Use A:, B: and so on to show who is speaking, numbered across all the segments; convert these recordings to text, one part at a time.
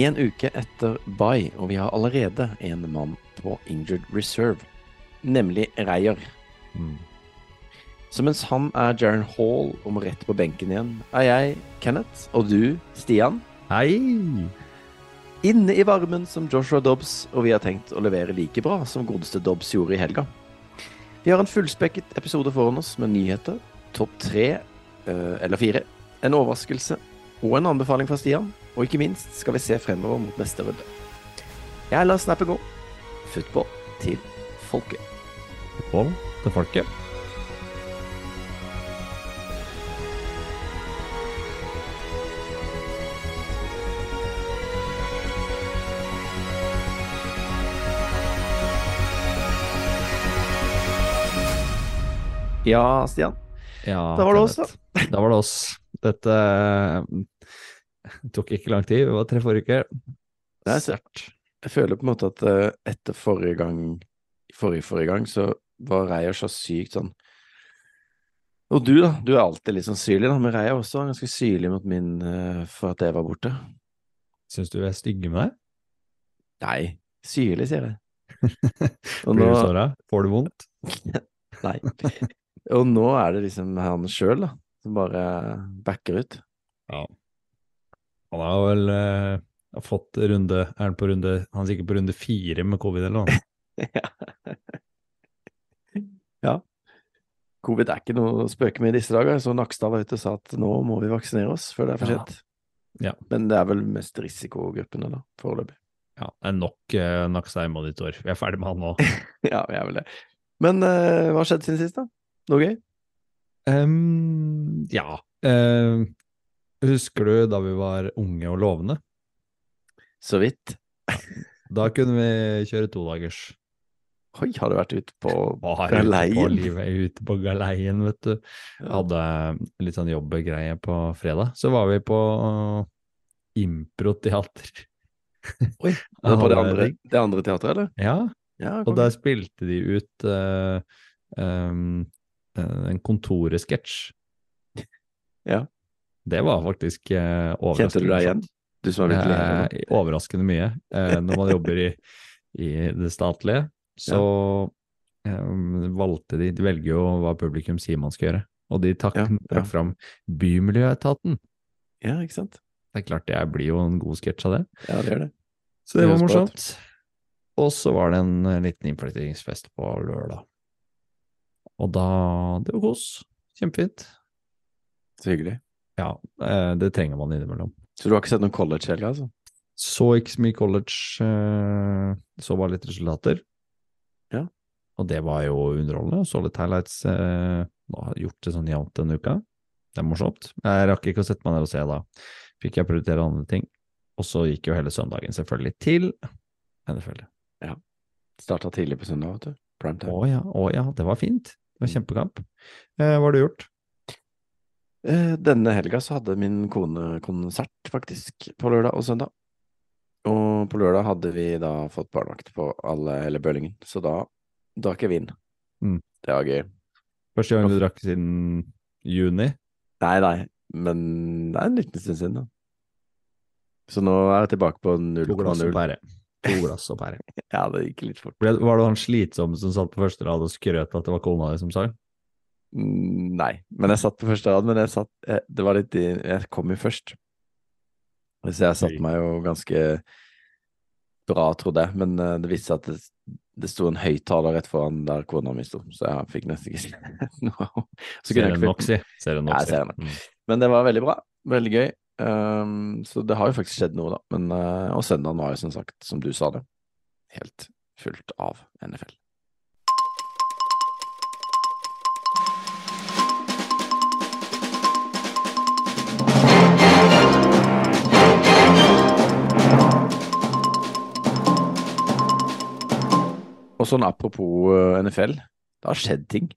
A: En uke etter bye, og vi har allerede en mann på injured reserve, nemlig Reier. Så mens han er Jaren Hall og må rett på benken igjen, er jeg, Kenneth, og du, Stian,
B: Hei!
A: inne i varmen som Joshua Dobbs, og vi har tenkt å levere like bra som godeste Dobbs gjorde i helga. Vi har en fullspekket episode foran oss med nyheter, topp tre eh, eller fire, en overraskelse og en anbefaling fra Stian, og ikke minst skal vi se fremover mot neste runde. Jeg lar snappen gå. Football til folket.
B: Pål til folket.
A: Ja, Stian.
B: Ja,
A: Da var det oss, da.
B: Kenneth. Da var det oss. Dette eh, tok ikke lang tid. Vi var tre forrige uke.
A: Det er sterkt. Jeg føler på en måte at eh, etter forrige gang, forrige, forrige gang, så var Reier så sykt sånn Og du, da. Du er alltid litt sånn syrlig, da, men Reier også var ganske syrlig mot min eh, for at jeg var borte.
B: Syns du vi er stygge med deg?
A: Nei, syrlig, sier jeg. Og
B: Blir
A: nå,
B: du såra? Får du vondt?
A: nei. Og nå er det liksom han sjøl, da, som bare backer ut.
B: Han har vel eh, har fått runde Er han på runde Han er sikkert på runde fire med covid, eller noe?
A: Covid er ikke noe å spøke med i disse dager, så Nakstad var ute og sa at nå må vi vaksinere oss før det er for
B: Ja.
A: sent.
B: Ja.
A: Men det er vel mest risikogruppene, da, foreløpig.
B: Ja, det er nok eh, Naksheim-auditor. Vi er ferdig med han nå.
A: Ja, jeg er vel det. Men eh, hva har skjedd siden sist, da? Noe gøy?
B: Ehm, ja. Ehm, husker du da vi var unge og lovende?
A: Så vidt.
B: Da kunne vi kjøre todagers.
A: Oi, har du vært ute på
B: Var
A: Galeien?
B: ute på livet, ute på galeien, vet du.
A: Ja.
B: Hadde litt sånn jobbegreie på fredag. Så var vi på uh, improteater.
A: Oi, det er på det
B: Hadde-
A: andre, det andre teatret, eller?
B: Ja,
A: Ja,
B: og
A: kom.
B: der spilte de ut eh, em, eh, en kontoresketsj.
A: Ja.
B: Det var faktisk eh, overraskende.
A: Kjente du deg igjen? Du som er blitt leder? nå.
B: Eh, overraskende mye. Eh, når man jobber i, i det statlige, så eh, valgte de De velger jo hva publikum sier man skal gjøre, og de trakk
A: Ja, ja.
B: trakk fram Bymiljøetaten.
A: Ja, ikke sant?
B: Det er klart jeg blir jo en god sketsj av det.
A: Ja, det gjør det.
B: Så det
A: Det
B: var
A: høres bra ut.
B: morsomt. Og så var det en eh, liten innflyttingsfest på lørdag. Og da Det var kos. Kjempefint.
A: Så hyggelig.
B: Ja, eh, det trenger man innimellom.
A: Så du har ikke sett noen college heller, altså?
B: Så ikke så mye college, eh, så bare litt resultater.
A: Ja.
B: Og det var jo underholdende. Så litt highlights. eh, Nå har jeg gjort det sånn jevnt denne uka. Det er morsomt. Jeg rakk ikke å sette meg ned og se da. Fikk jeg prioritere andre ting. Og så gikk jo hele søndagen selvfølgelig til NFL.
A: Starta tidlig på søndag, vet du. Prime
B: Å
A: time.
B: ja, å ja, det var fint. Det var kjempekamp. Eh, hva har du gjort?
A: Eh, denne helga så hadde min kone konsert, faktisk, på lørdag og søndag. Og på lørdag hadde vi da fått barnevakt på alle, hele Bøllingen, så da drakk jeg vin.
B: Mm.
A: Det var gøy.
B: Første gang du drakk siden juni?
A: Nei, nei, men det er en liten stund siden, da. Så nå er jeg tilbake på 0,0.
B: To glass og pære. To glass og pære.
A: Ja, det gikk litt fort.
B: Ble- Var det han slitsomme som satt på første rad og skrøt at det var kona di som sang?
A: Mm, Nei, men jeg satt på første rad, men jeg satt eh, Det var litt i- Jeg kom jo først. Så jeg satte
B: Oi.
A: meg jo ganske bra, trodde jeg, men eh, det viste seg at det, det sto en høyttaler rett foran der kona mi sto, så jeg fikk nesten ikke sett noe. Så kunne jeg ikke
B: Ser en
A: følge-
B: Noxy. Ser en
A: Ja, jeg
B: Noxy.
A: ser en Men det var veldig bra. Veldig gøy. Ehm, så det har jo faktisk skjedd noe, da. Men, eh, og søndagen var jo som sagt, som du sa det, helt fullt av NFL. sånn apropos eh, NFL. Det har skjedd ting.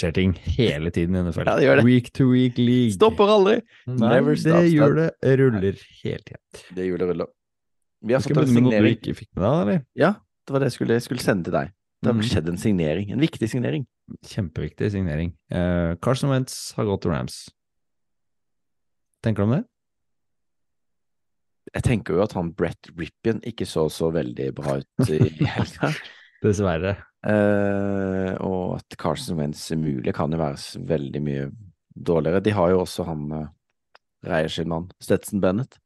B: skjer ting hele tiden i NFL.
A: Ja, det gjør det.
B: Week to week league. Mm.
A: Stopper aldri!
B: Nei,
A: Never
B: det
A: stops,
B: gjør det. Ruller hele tida.
A: Det hjulet ruller. Vi har
B: Skal
A: fått en
B: vi begynne med noe du
A: signering.
B: ikke fikk med deg, eller?
A: Det var det jeg skulle, jeg skulle sende til deg. Det har
B: Mhm.
A: skjedd en signering. En viktig signering.
B: Kjempeviktig signering. Eh, Carson Wentz har gått til Rams. Tenker du om det?
A: Jeg tenker jo at han Brett Ripien ikke så så veldig bra ut i helga.
B: Dessverre.
A: Eh, og at Carson Wentz er mulig, kan jo være s- veldig mye dårligere. De har jo også han uh, Reier sin mann, Stetson Bennett.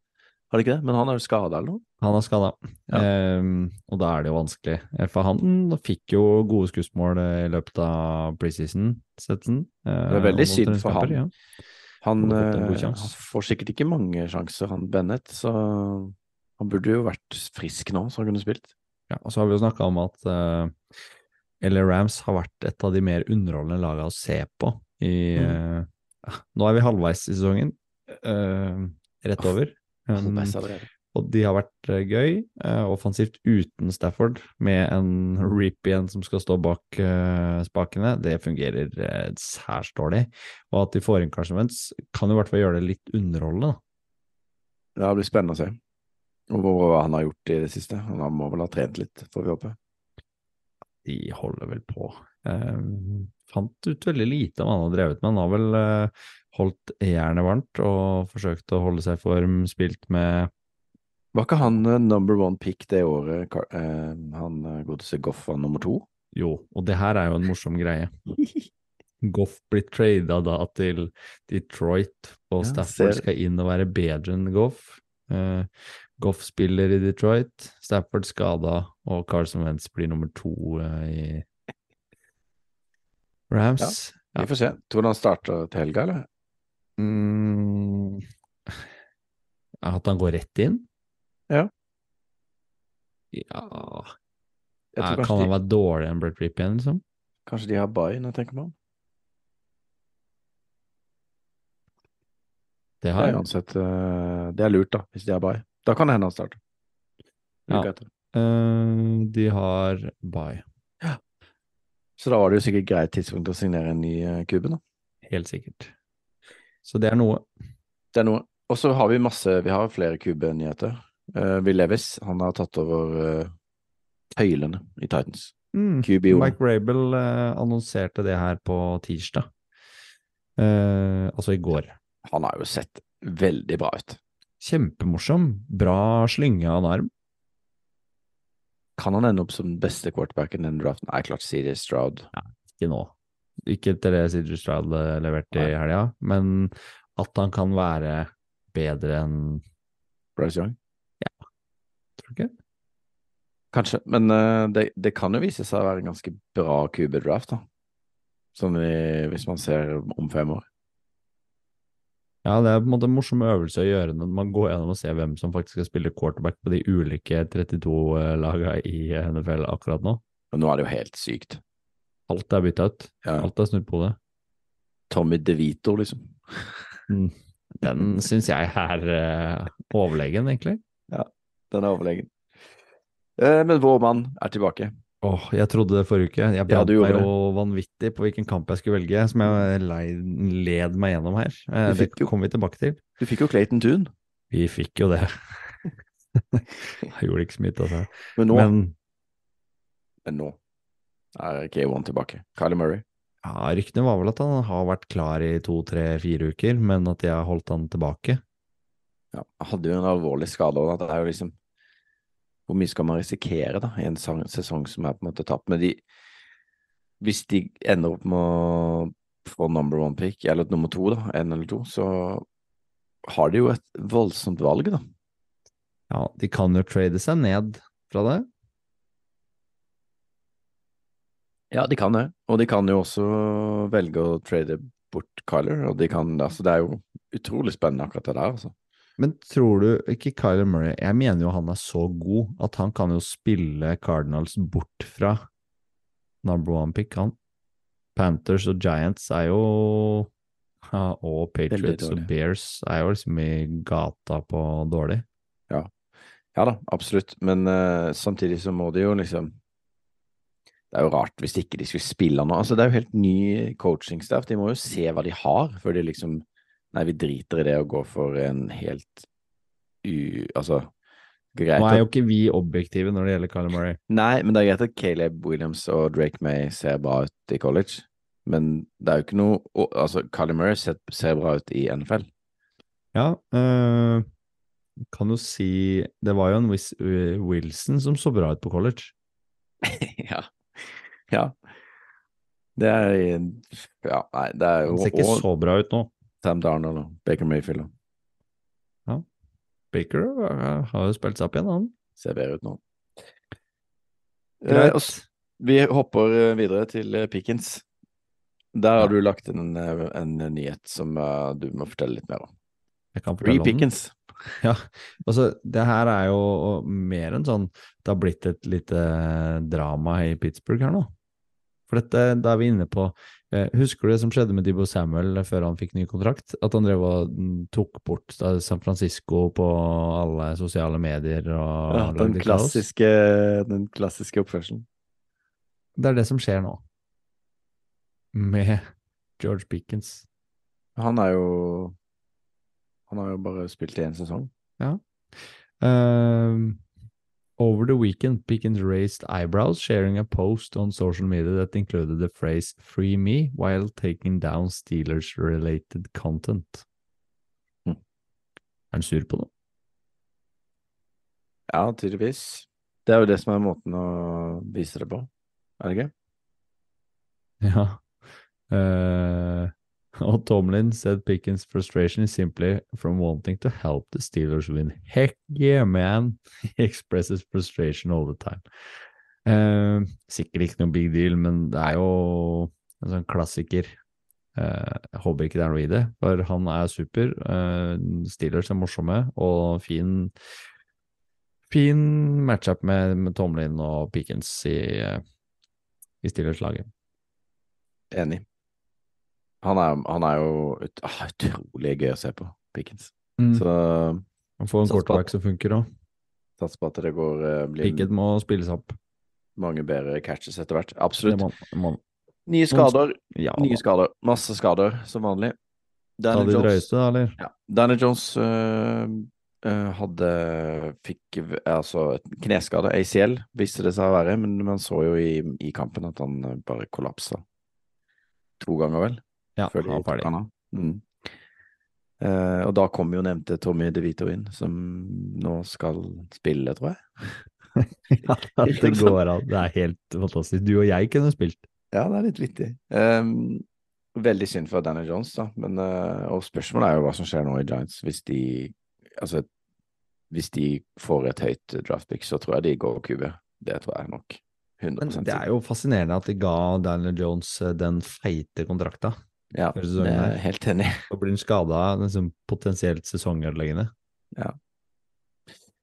A: Har de ikke det? Men han er jo skada eller noe?
B: Han er skada,
A: Ja.
B: og da er det jo vanskelig. Eh, For han fikk jo gode skussmål eh, i løpet av preseason. Setsen. Eh,
A: Det er veldig
B: og mot
A: synd for
B: Rams-kamper,
A: han.
B: Ja.
A: Han,
B: Han har fått en god
A: eh,
B: sjanse.
A: han får sikkert ikke mange sjanser, han Bennett, så han burde jo vært frisk nå, så han kunne spilt.
B: Ja, og så har vi jo snakka om at uh, LA Rams har vært et av de mer underholdende laga å se på i eh, ja, Nå er vi halvveis i sesongen. eh, rett
A: Uff.
B: over.
A: Han
B: Um,
A: best allerede.
B: og de har vært eh, gøy eh, offensivt uten Stafford, med en Reap igjen som skal stå bak eh, spakene. Det fungerer eh, særs dårlig. Og at de får inn Carson Wentz, kan jo i hvert fall gjøre det litt underholdende. da.
A: Det blir spennende å se Og hva han har gjort i det siste. Han må vel ha trent litt, får vi håpe.
B: De holder vel på. Eh, fant ut veldig lite om han har drevet med. Han har vel eh, holdt jernet varmt og forsøkt å holde seg i form, spilt med
A: Var ikke han eh, number one pick det året Car eh, han eh, godeste Goff var nummer to?
B: Jo, og det her er jo en morsom greie. Goff blir trada da til Detroit, og
A: Ja,
B: Stafford
A: ser-
B: skal inn og være bedre enn Goff. Eh, Goff spiller i Detroit, Stafford skada, og Carson Wentz blir nummer to eh, i Rams. Ja.
A: Vi får se. Tror du han starter til helga, eller?
B: Mm. At han går rett inn?
A: Ja.
B: Ja
A: Jeg
B: Eh,
A: tror
B: Kan
A: kanskje,
B: han
A: de,
B: være dårligere enn Brett Rip igjen, liksom?
A: kanskje de har bye når jeg tenker meg om.
B: Det
A: Det
B: har
A: er
B: jeg.
A: uansett eh, Det er lurt, da, hvis de har bye. Da kan det hende han starter.
B: Ja.
A: Uka etter.
B: Eh, de har bye.
A: Så da var det jo sikkert greit tidspunkt å signere en ny eh, kube, da.
B: Helt sikkert. Så det er noe.
A: Det er noe. Og så har vi masse Vi har flere kubenyheter. Uh, Will Levis, han har tatt over eh, tøylene i Titans. QB1.
B: Mm. Mike Rabel eh, annonserte det her på tirsdag. Eh, altså i går.
A: Han har jo sett veldig bra ut.
B: Kjempemorsom. Bra slynge av en arm.
A: Kan han ende opp som den beste quarterbacken i den draften? Nei, klart CJ Stroud.
B: Ikke nå. Ikke etter det Sidre Stroud eh, leverte i helga, men at han kan være bedre enn
A: Bryce Young?
B: Tror du ikke?
A: Kanskje, men eh, det, det kan jo vise seg å være en ganske bra QB-draft, da. Sånn i, hvis man ser om fem år.
B: Ja, det er på en måte en morsom øvelse å gjøre når man går gjennom og ser hvem som faktisk skal spille quarterback på de ulike 32-laga i NFL akkurat nå.
A: Men nå er det jo helt sykt.
B: Alt er bytta ut.
A: Ja.
B: Alt er snudd på det.
A: Tommy DeVito, liksom.
B: Den syns jeg er eh, overlegen, egentlig.
A: Den er overlegen. Eh, men vår mann er tilbake.
B: Åh, jeg trodde det forrige uke. Jeg
A: Ja,
B: brant
A: du gjorde
B: meg jo vanvittig på hvilken kamp jeg skulle velge, som jeg lei- led meg gjennom her. Eh,
A: Du
B: Det
A: fikk jo-
B: kommer vi tilbake til.
A: Du fikk jo Clayton Tune,
B: Vi fikk jo det. Jeg gjorde ikke så mye ut av seg.
A: men nå, men,
B: Men
A: nå er K1 tilbake. Kylie Murray.
B: ja, ryktene var vel at han har vært klar i to, tre, fire uker, men at de har holdt han tilbake.
A: Ja, han hadde jo en alvorlig skade, og det er jo liksom Hvor mye skal man risikere da, i en sang- sesong som er på en måte tapt? Men de Hvis de ender opp med å få number one pick, eller nummer to, da, en eller to, så har de jo et voldsomt valg, da.
B: Ja, de kan jo trade seg ned fra det.
A: Ja, de kan det. Og de kan jo også velge å trade bort Kyler, og de kan Altså, det er jo utrolig spennende akkurat det der, altså.
B: Men tror du ikke Kyler Murray Jeg mener jo han er så god at han kan jo spille Cardinals bort fra number one pick, han. Panthers og Giants er jo ja, Og Patriots og
A: dårlig.
B: Bears er jo liksom i gata på dårlig.
A: Ja da, absolutt. Men eh, samtidig så må de jo liksom Det er jo rart hvis ikke de skulle spille nå. Altså, det er jo helt ny coaching-staff. De må jo se hva de har, før de liksom Nei, vi driter i det og går for en helt u... Altså, greit
B: Nå
A: at
B: er jo ikke vi objektive når det gjelder Kyler Murray.
A: Nei, men det er greit at Caleb Williams og Drake May ser bra ut i college, men det er jo ikke noe og, Altså, Carly Murray ser, ser bra ut i NFL.
B: Ja, eh, kan jo si Det var jo en Wis- Wilson som så bra ut på college.
A: ja. Ja. Det er Ja, nei, det er
B: Han
A: jo
B: ser ikke
A: Og
B: så bra ut nå.
A: Sam Darnold og Baker Mayfield og
B: Baker eh, har jo spilt seg opp igjen, han.
A: ser bedre ut nå. Eh, og
B: Greit.
A: s- vi hopper eh, videre til eh, Pickens. Der har du lagt inn en, eh, en nyhet som eh, du må fortelle litt mer om.
B: Jeg kan
A: Free
B: fortelle om den.
A: Pickens.
B: Altså, det her er jo mer enn sånn Det har blitt et lite eh, drama i Pittsburgh her nå. For dette, da er vi inne på eh, Husker du det som skjedde med Dibbo Samuel før han fikk ny kontrakt? At han drev og mm, tok bort da, San Francisco på alle sosiale medier og
A: Ja, den
B: lagde kaos?
A: klassiske, den klassiske oppførselen.
B: Det er det som skjer nå. Med George Pickens.
A: Han er jo Han har jo bare spilt i én sesong.
B: Um, over the weekend, Pickens raised eyebrows, sharing a post on social media that included the phrase "free me" while taking down Steelers-related content.
A: Hmm.
B: Er han sur på det?
A: Ja, tydeligvis. Det er jo det som er måten å vise det på, er det ikke?
B: Ja. Uh, og Tomlin said Pickens' frustration is simply from wanting to help the Steelers win. Heck yeah, man! He expresses frustration all the time. Uh, sikkert ikke noe big deal, men det er jo en sånn klassiker. Eh, jeg håper ikke det er noe i det, for han er super. Eh, Steelers er morsomme og fin Fin matchup med, med Tomlin og Pickens i, eh, i Steelers-laget.
A: Enig. Han er, han er jo ut, ah, utrolig gøy å se på, Pickens.
B: Mm.
A: Så
B: Man får en
A: Sats på at-
B: quarterback som funker òg.
A: sats på at det går, eh, blir
B: Pickett må spilles opp.
A: mange bedre catches etter hvert.
B: Det
A: Absolutt.
B: må han- må han.
A: Nye skader.
B: Ja, da.
A: Nye skader. Masse skader, som vanlig.
B: Ta
A: Daniel
B: de
A: Jones
B: drøyeste, da, eller?
A: Ja. Danny Jones øh, øh, hadde fikk v- altså et kneskade, ACL, viste det seg å være, men man så jo i, i kampen at han øh, bare kollapsa. To ganger, vel,
B: Ja,
A: før de
B: han er
A: tok
B: ferdig.
A: han av. Mm. Eh, og da kom jo nevnte Tommy DeVito inn, som nå skal spille, tror jeg.
B: Ja, det går an. Det er helt fantastisk. Du og jeg kunne spilt.
A: Ja, det er litt vittig. Ehm, veldig synd for Danny Jones, da. Men, eh, og spørsmålet er jo hva som skjer nå i Giants. Hvis de, altså, hvis de får et høyt draftpick, så tror jeg de går QB. Det tror jeg er nok. 100
B: Men det er jo fascinerende at de ga Daniel Jones eh, den feite kontrakta.
A: ja,
B: for
A: det
B: sesongen
A: er
B: her.
A: jeg helt enig. i.
B: Og blir han skada, liksom potensielt sesongødeleggende.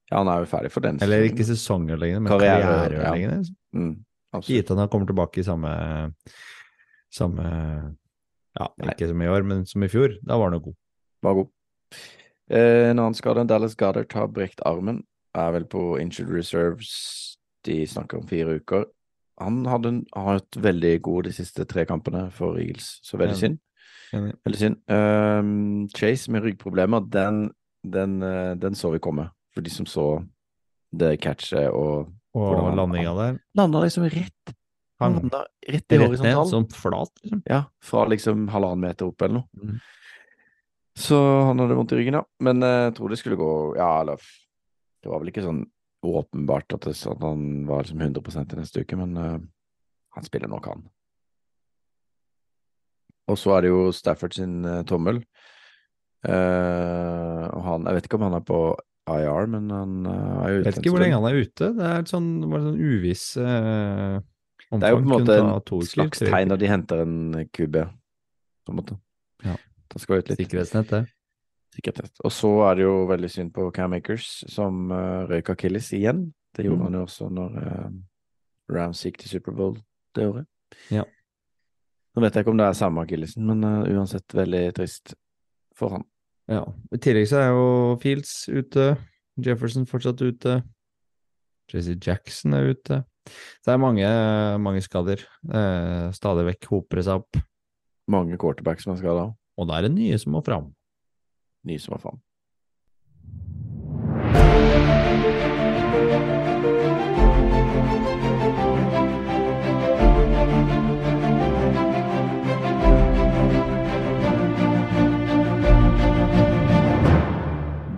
A: Ja, han er jo ferdig for den
B: Eller ikke
A: sesongen.
B: sesongødeleggende, men
A: Karriere-
B: karriereødeleggende.
A: Mm, absolutt.
B: Gitt at han kommer tilbake i samme Samme Ja,
A: Nei.
B: ikke som i år, men som i fjor. Da var han jo god.
A: Var god. Eh, en annen skade, Dallas Goddard har brekt armen. Er vel på injured reserves. De snakker om fire uker. Han hadde, en- har vært veldig god de siste tre kampene for Eagles, så veldig
B: Enig.
A: synd.
B: Enig.
A: Veldig synd. Ehm, Chase med ryggproblemer, den, den, eh, den så vi komme. For de som så det catchet og Hvordan
B: Og
A: han-
B: landinga der
A: Landa liksom rett, han
B: hang
A: landa rett i
B: rett ned,
A: horisontalen.
B: som flat, liksom.
A: Ja, fra liksom halvannen meter opp eller noe.
B: Mhm.
A: Så han hadde vondt i ryggen, ja. Men eh, jeg tror det skulle gå Ja, eller f- Det var vel ikke sånn åpenbart at, det, at han var liksom 100 i neste uke, men eh, han spiller nok, han. Og så er det jo Stafford sin eh, tommel. Eh, og han Jeg vet ikke om han er på IR, men han eh, er jo
B: Jeg vet ikke hvor lenge han er ute. Det er et sånn, bare sånn uviss eh, omfang.
A: Det er jo på en måte
B: Kunne ta to
A: et
B: uker,
A: slags
B: tre
A: tegn at de henter en QB, på en måte.
B: Ja.
A: Da skal vi ut
B: uker.
A: litt.
B: Sikkerhetsnett, det.
A: Sikkerhetsnett. Og så er det jo veldig synd på Cam Akers, som uh, røyk akilles igjen. Det gjorde
B: Mhm.
A: han jo også når uh, Rams gikk til Superbowl det året.
B: Ja.
A: Nå vet jeg ikke om det er samme akillesen, men eh, uansett veldig trist for han.
B: Ja. I tillegg så er jo Fields ute. Jefferson fortsatt ute. Jesse Jackson er ute. Så det er mange, mange skader. Eh, stadig vekk hoper det seg opp.
A: Mange quarterbacks som er skada.
B: Og da er det nye som må fram.
A: Nye som er faen.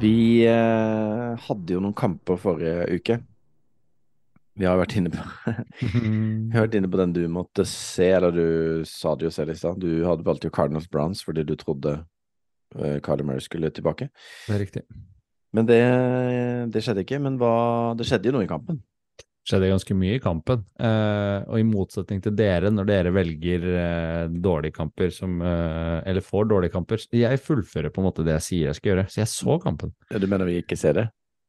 A: Vi eh, hadde jo noen kamper forrige uke. Vi har vært inne på Vi har vært inne på den du måtte se, eller du sa det jo selv i stad. Du hadde valgt jo Cardinals Browns fordi du trodde eh, Carly Murray skulle tilbake.
B: Det er riktig.
A: Men det, det skjedde ikke. Men hva, det skjedde jo noe i kampen.
B: skjedde ganske mye i kampen. Eh, og i motsetning til dere, når dere velger eh, dårlige kamper som eh, Eller får dårlige kamper. Jeg fullfører på en måte det jeg sier jeg skal gjøre, så jeg så kampen.
A: Ja, Du mener vi ikke ser det?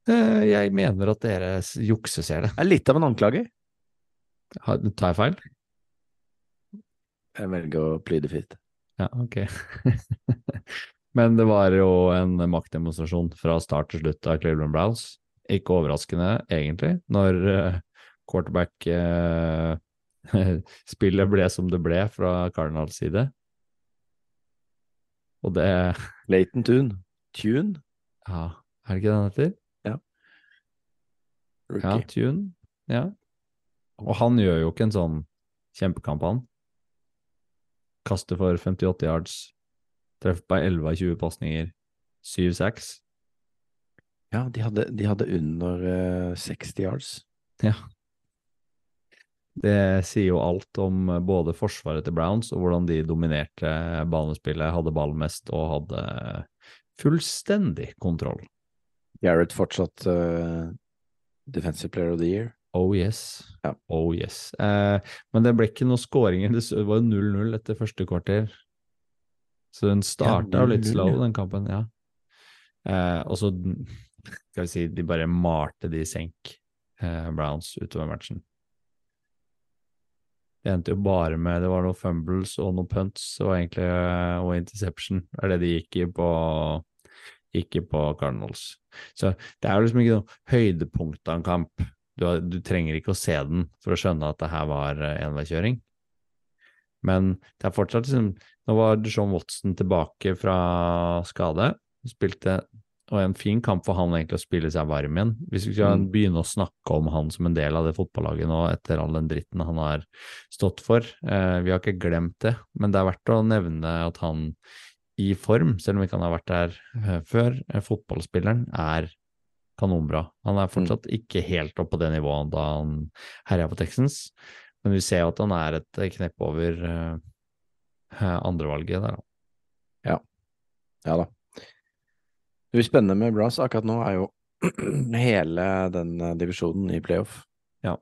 B: Eh, jeg mener at dere s- jukseser det.
A: Det er litt av en anklage.
B: Har- Tar jeg feil?
A: Jeg velger å plyde fritt.
B: Ja, ok. Men det var jo en maktdemonstrasjon fra start til slutt av Cleveland Browns. Ikke overraskende, egentlig, når eh, quarterback eh, spillet ble som det ble fra Cardinals side. Og det
A: Laton Tune. Tune?
B: Ja, er det ikke den heter? Ja,
A: Rookie.
B: Tune. Ja. Og han gjør jo ikke en sånn kjempekamp, han. Kaster for 58 yards. Treffer på 11 av 20 pasninger. 7-6.
A: Ja, de hadde, de hadde under eh, 60 yards.
B: Det sier jo alt om eh, både forsvaret til Browns og hvordan de dominerte ballespillet, hadde ball mest og hadde fullstendig kontroll.
A: Garrett fortsatt eh, defensive player of the year.
B: Oh yes.
A: Ja.
B: Oh yes. Eh, men det ble ikke noen skåringer. Det s- det var jo 0-0 etter første kvarter. Så den starta
A: Ja,
B: jo litt
A: 0-0,
B: slow,
A: ja.
B: den kampen. Ja. Eh, og så den- skal vi si de bare malte de i senk, eh, Browns, utover matchen. Det endte jo bare med Det var noen fumbles og noen punts det var egentlig, eh, og interception. Det er det de gikk i på, gikk i på Cardinals. Så det er jo liksom ikke noe høydepunkt av en kamp du, har, du trenger ikke å se den for å skjønne at det her var eh, enveiskjøring. Men det er fortsatt liksom Nå var John Watson tilbake fra skade. Spilte og en fin kamp for han egentlig å spille seg varm igjen. Hvis vi skal
A: Mm.
B: begynne å snakke om han som en del av det fotballaget nå, etter all den dritten han har stått for eh, Vi har ikke glemt det, men det er verdt å nevne at han i form, selv om ikke han har vært der eh, før, eh, fotballspilleren er kanonbra. Han er fortsatt ikke helt oppe på det nivået da han herja på Texans, men vi ser jo at han er et eh, knepp over eh, andrevalget der, da.
A: Ja da. Det blir spennende med Browns akkurat nå, er jo hele den eh, divisjonen i playoff.
B: Ja.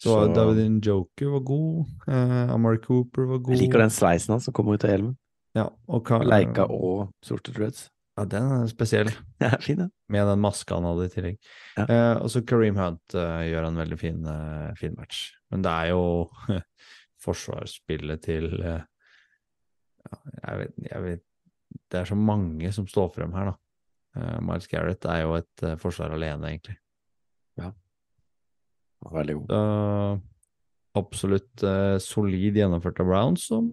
B: Så,
A: Så,
B: David Njoku var god, eh, Amari Cooper var god.
A: jeg liker den sveisen hans som kommer ut av hjelmen.
B: Ja, og Ka-
A: Leika og sorte dreads.
B: Ja, den er spesiell.
A: Ja, fin, den.
B: Med den maska han hadde i tillegg.
A: Ja.
B: Eh, og så Kareem Hunt eh, gjør en veldig fin, eh, fin match. Men det er jo forsvarsspillet til eh, ja, jeg, vet, jeg vet Det er så mange som står frem her, da. Eh, Miles Garrett er jo et eh, forsvar alene, egentlig.
A: Den var Veldig god.
B: Så absolutt eh, solid gjennomført av Browns, som,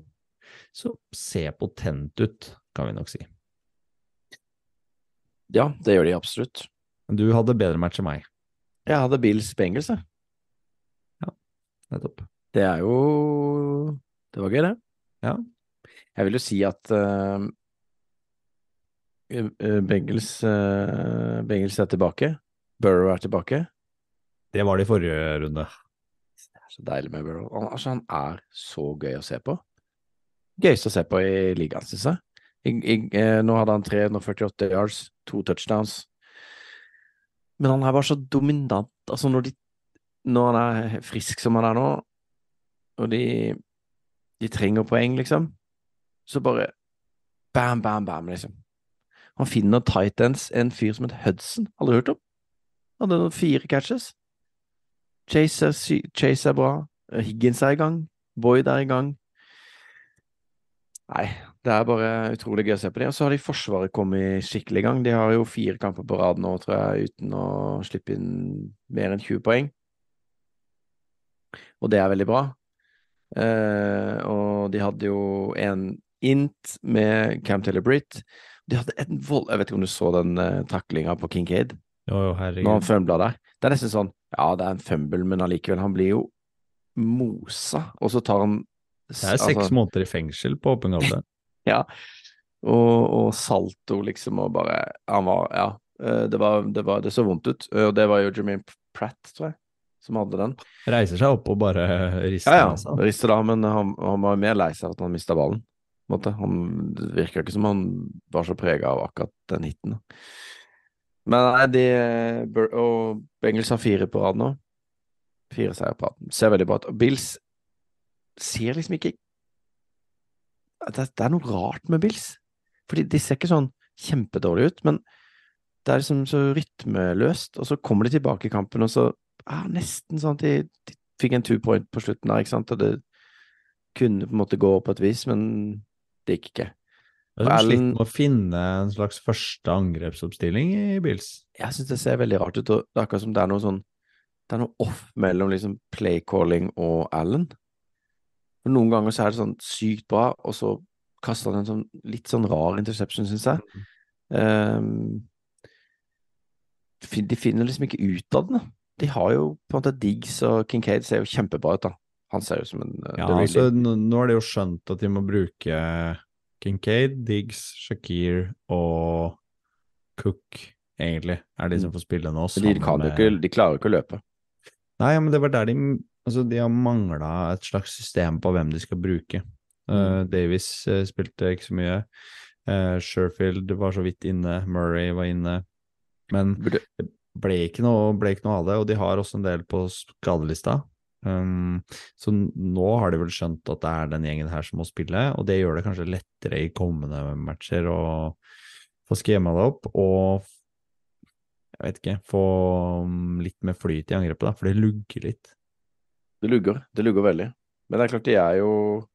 B: som ser potent ut, kan vi nok si.
A: Ja, det gjør de absolutt.
B: Men du hadde bedre match enn meg,
A: Jeg hadde Bills Bengals, jeg.
B: nettopp.
A: Det er jo Det var gøy, det.
B: Ja.
A: Jeg vil jo si at eh, eh, Bengals, eh, Bengals er tilbake. Burrow er tilbake.
B: Det var det i forrige runde.
A: Det er så deilig med Burrow. Han, altså, han er så gøy å se på. Gøyeste å se på i ligaen, synes jeg. I, i, eh, nå hadde han 348 yards, to touchdowns. Men han her var så dominant. Altså, når, de, når han er frisk som han er nå, og de, de trenger poeng, liksom, så bare bam, bam, bam, liksom. Han finner tight ends, en fyr som het Hudson. Aldri hørt om. Han hadde noen fire catches. Chase er, sy Chase er bra. Higgins er i gang. Boyd er i gang. Nei, det er bare utrolig gøy å se på dem. Og så har de Forsvaret kommet skikkelig i gang. De har jo fire kamper på rad nå, tror jeg, uten å slippe inn mer enn 20 poeng. og det er veldig bra. Eh, og de hadde jo en int med Cam Taylor-Britt. De hadde en vold... Jeg vet ikke om du så den uh, taklinga på Kincaid?
B: Jo, jo,
A: når han
B: herregud.
A: fumbler der. Det er nesten sånn Ja, det er en fumble, men allikevel. Han blir jo mosa, og så tar han altså,
B: Det er seks måneder i fengsel på åpen gate.
A: og, og salto, liksom, og bare Han var Ja. eh, Det, var, det, var, det så vondt ut. Eh, Og det var jo Jermaine Pratt, tror jeg, som hadde den.
B: Reiser seg opp og bare rister altså.
A: Ja, ja.
B: nesa.
A: Rister da, men han, han var jo mer lei seg for at han mista ballen. på en Måte. Han det virka ikke som han var så prega av akkurat den hiten. da. Men nei, de Bur- Og Bengels har fire på rad nå. Fire seier på rad. Ser veldig bra ut. Og Bills ser liksom ikke det, det er noe rart med Bills. Fordi de ser ikke sånn kjempedårlig ut, men det er liksom så rytmeløst. Og så kommer de tilbake i kampen, og så er det nesten sånn at de, de fikk en two point på slutten der, ikke sant. Og det kunne på en måte gå på et vis, men det gikk ikke.
B: Jeg har slitt
A: Allen-
B: med å finne en slags første angrepsoppstilling i Bills.
A: Jeg syns det ser veldig rart ut, og det er akkurat som det er noe sånn Det er noe off mellom liksom playcalling og Allen. For noen ganger så er det sånn sykt bra, og så kaster han en sånn litt sånn rar interception, syns jeg. Ehm, fin- de finner liksom ikke ut av den. da. De har jo på en måte Diggs og Kincaid ser jo kjempebra ut, da. Han ser jo som en eh,
B: Ja,
A: the real
B: altså,
A: deal.
B: nå nå har de jo skjønt at de må bruke Kincaid, Diggs, Shakir og Cook, egentlig, er de som får spille nå.
A: Men de,
B: sammen
A: kan jo
B: med-
A: ikke, de klarer jo ikke å løpe.
B: Nei, men det var der de Altså, de har mangla et slags system på hvem de skal bruke. Eh, Davies eh, spilte ikke så mye. Uh, Sherfield var så vidt inne. Murray var inne. Men
A: Burde-
B: det ble ikke noe, ble ikke noe av det, og de har også en del på skadelista. Um, så n- nå har de vel skjønt at det er den gjengen her som må spille, og det gjør det kanskje lettere i kommende matcher å få skjema det opp og f- jeg vet ikke, få mm, litt mer flyt i angrepet, da, for det lugger litt.
A: Det lugger. Det lugger veldig. Men det er klart, de er jo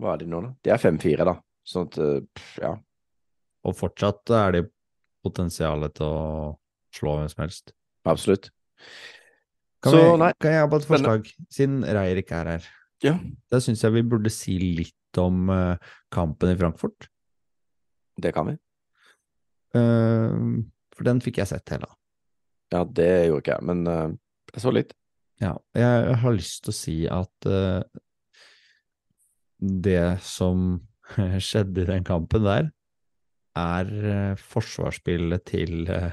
A: Hva er de nå, da? De er 5-4, da. Sånn at eh, pff, Ja.
B: Og fortsatt er det potensialet til å slå hvem som helst.
A: Absolutt.
B: Kan,
A: Så,
B: vi,
A: nei.
B: kan jeg ha på et
A: Spennende.
B: forslag, siden Reier ikke er her?
A: Ja.
B: Da syns jeg vi burde si litt om eh, kampen i Frankfurt.
A: Det kan vi.
B: Eh, for den fikk jeg sett hele.
A: Ja, det gjorde ikke jeg, men eh, jeg så litt.
B: Ja, jeg har lyst til å si at eh, det som skjedde i den kampen der, er eh, forsvarsspillet til eh,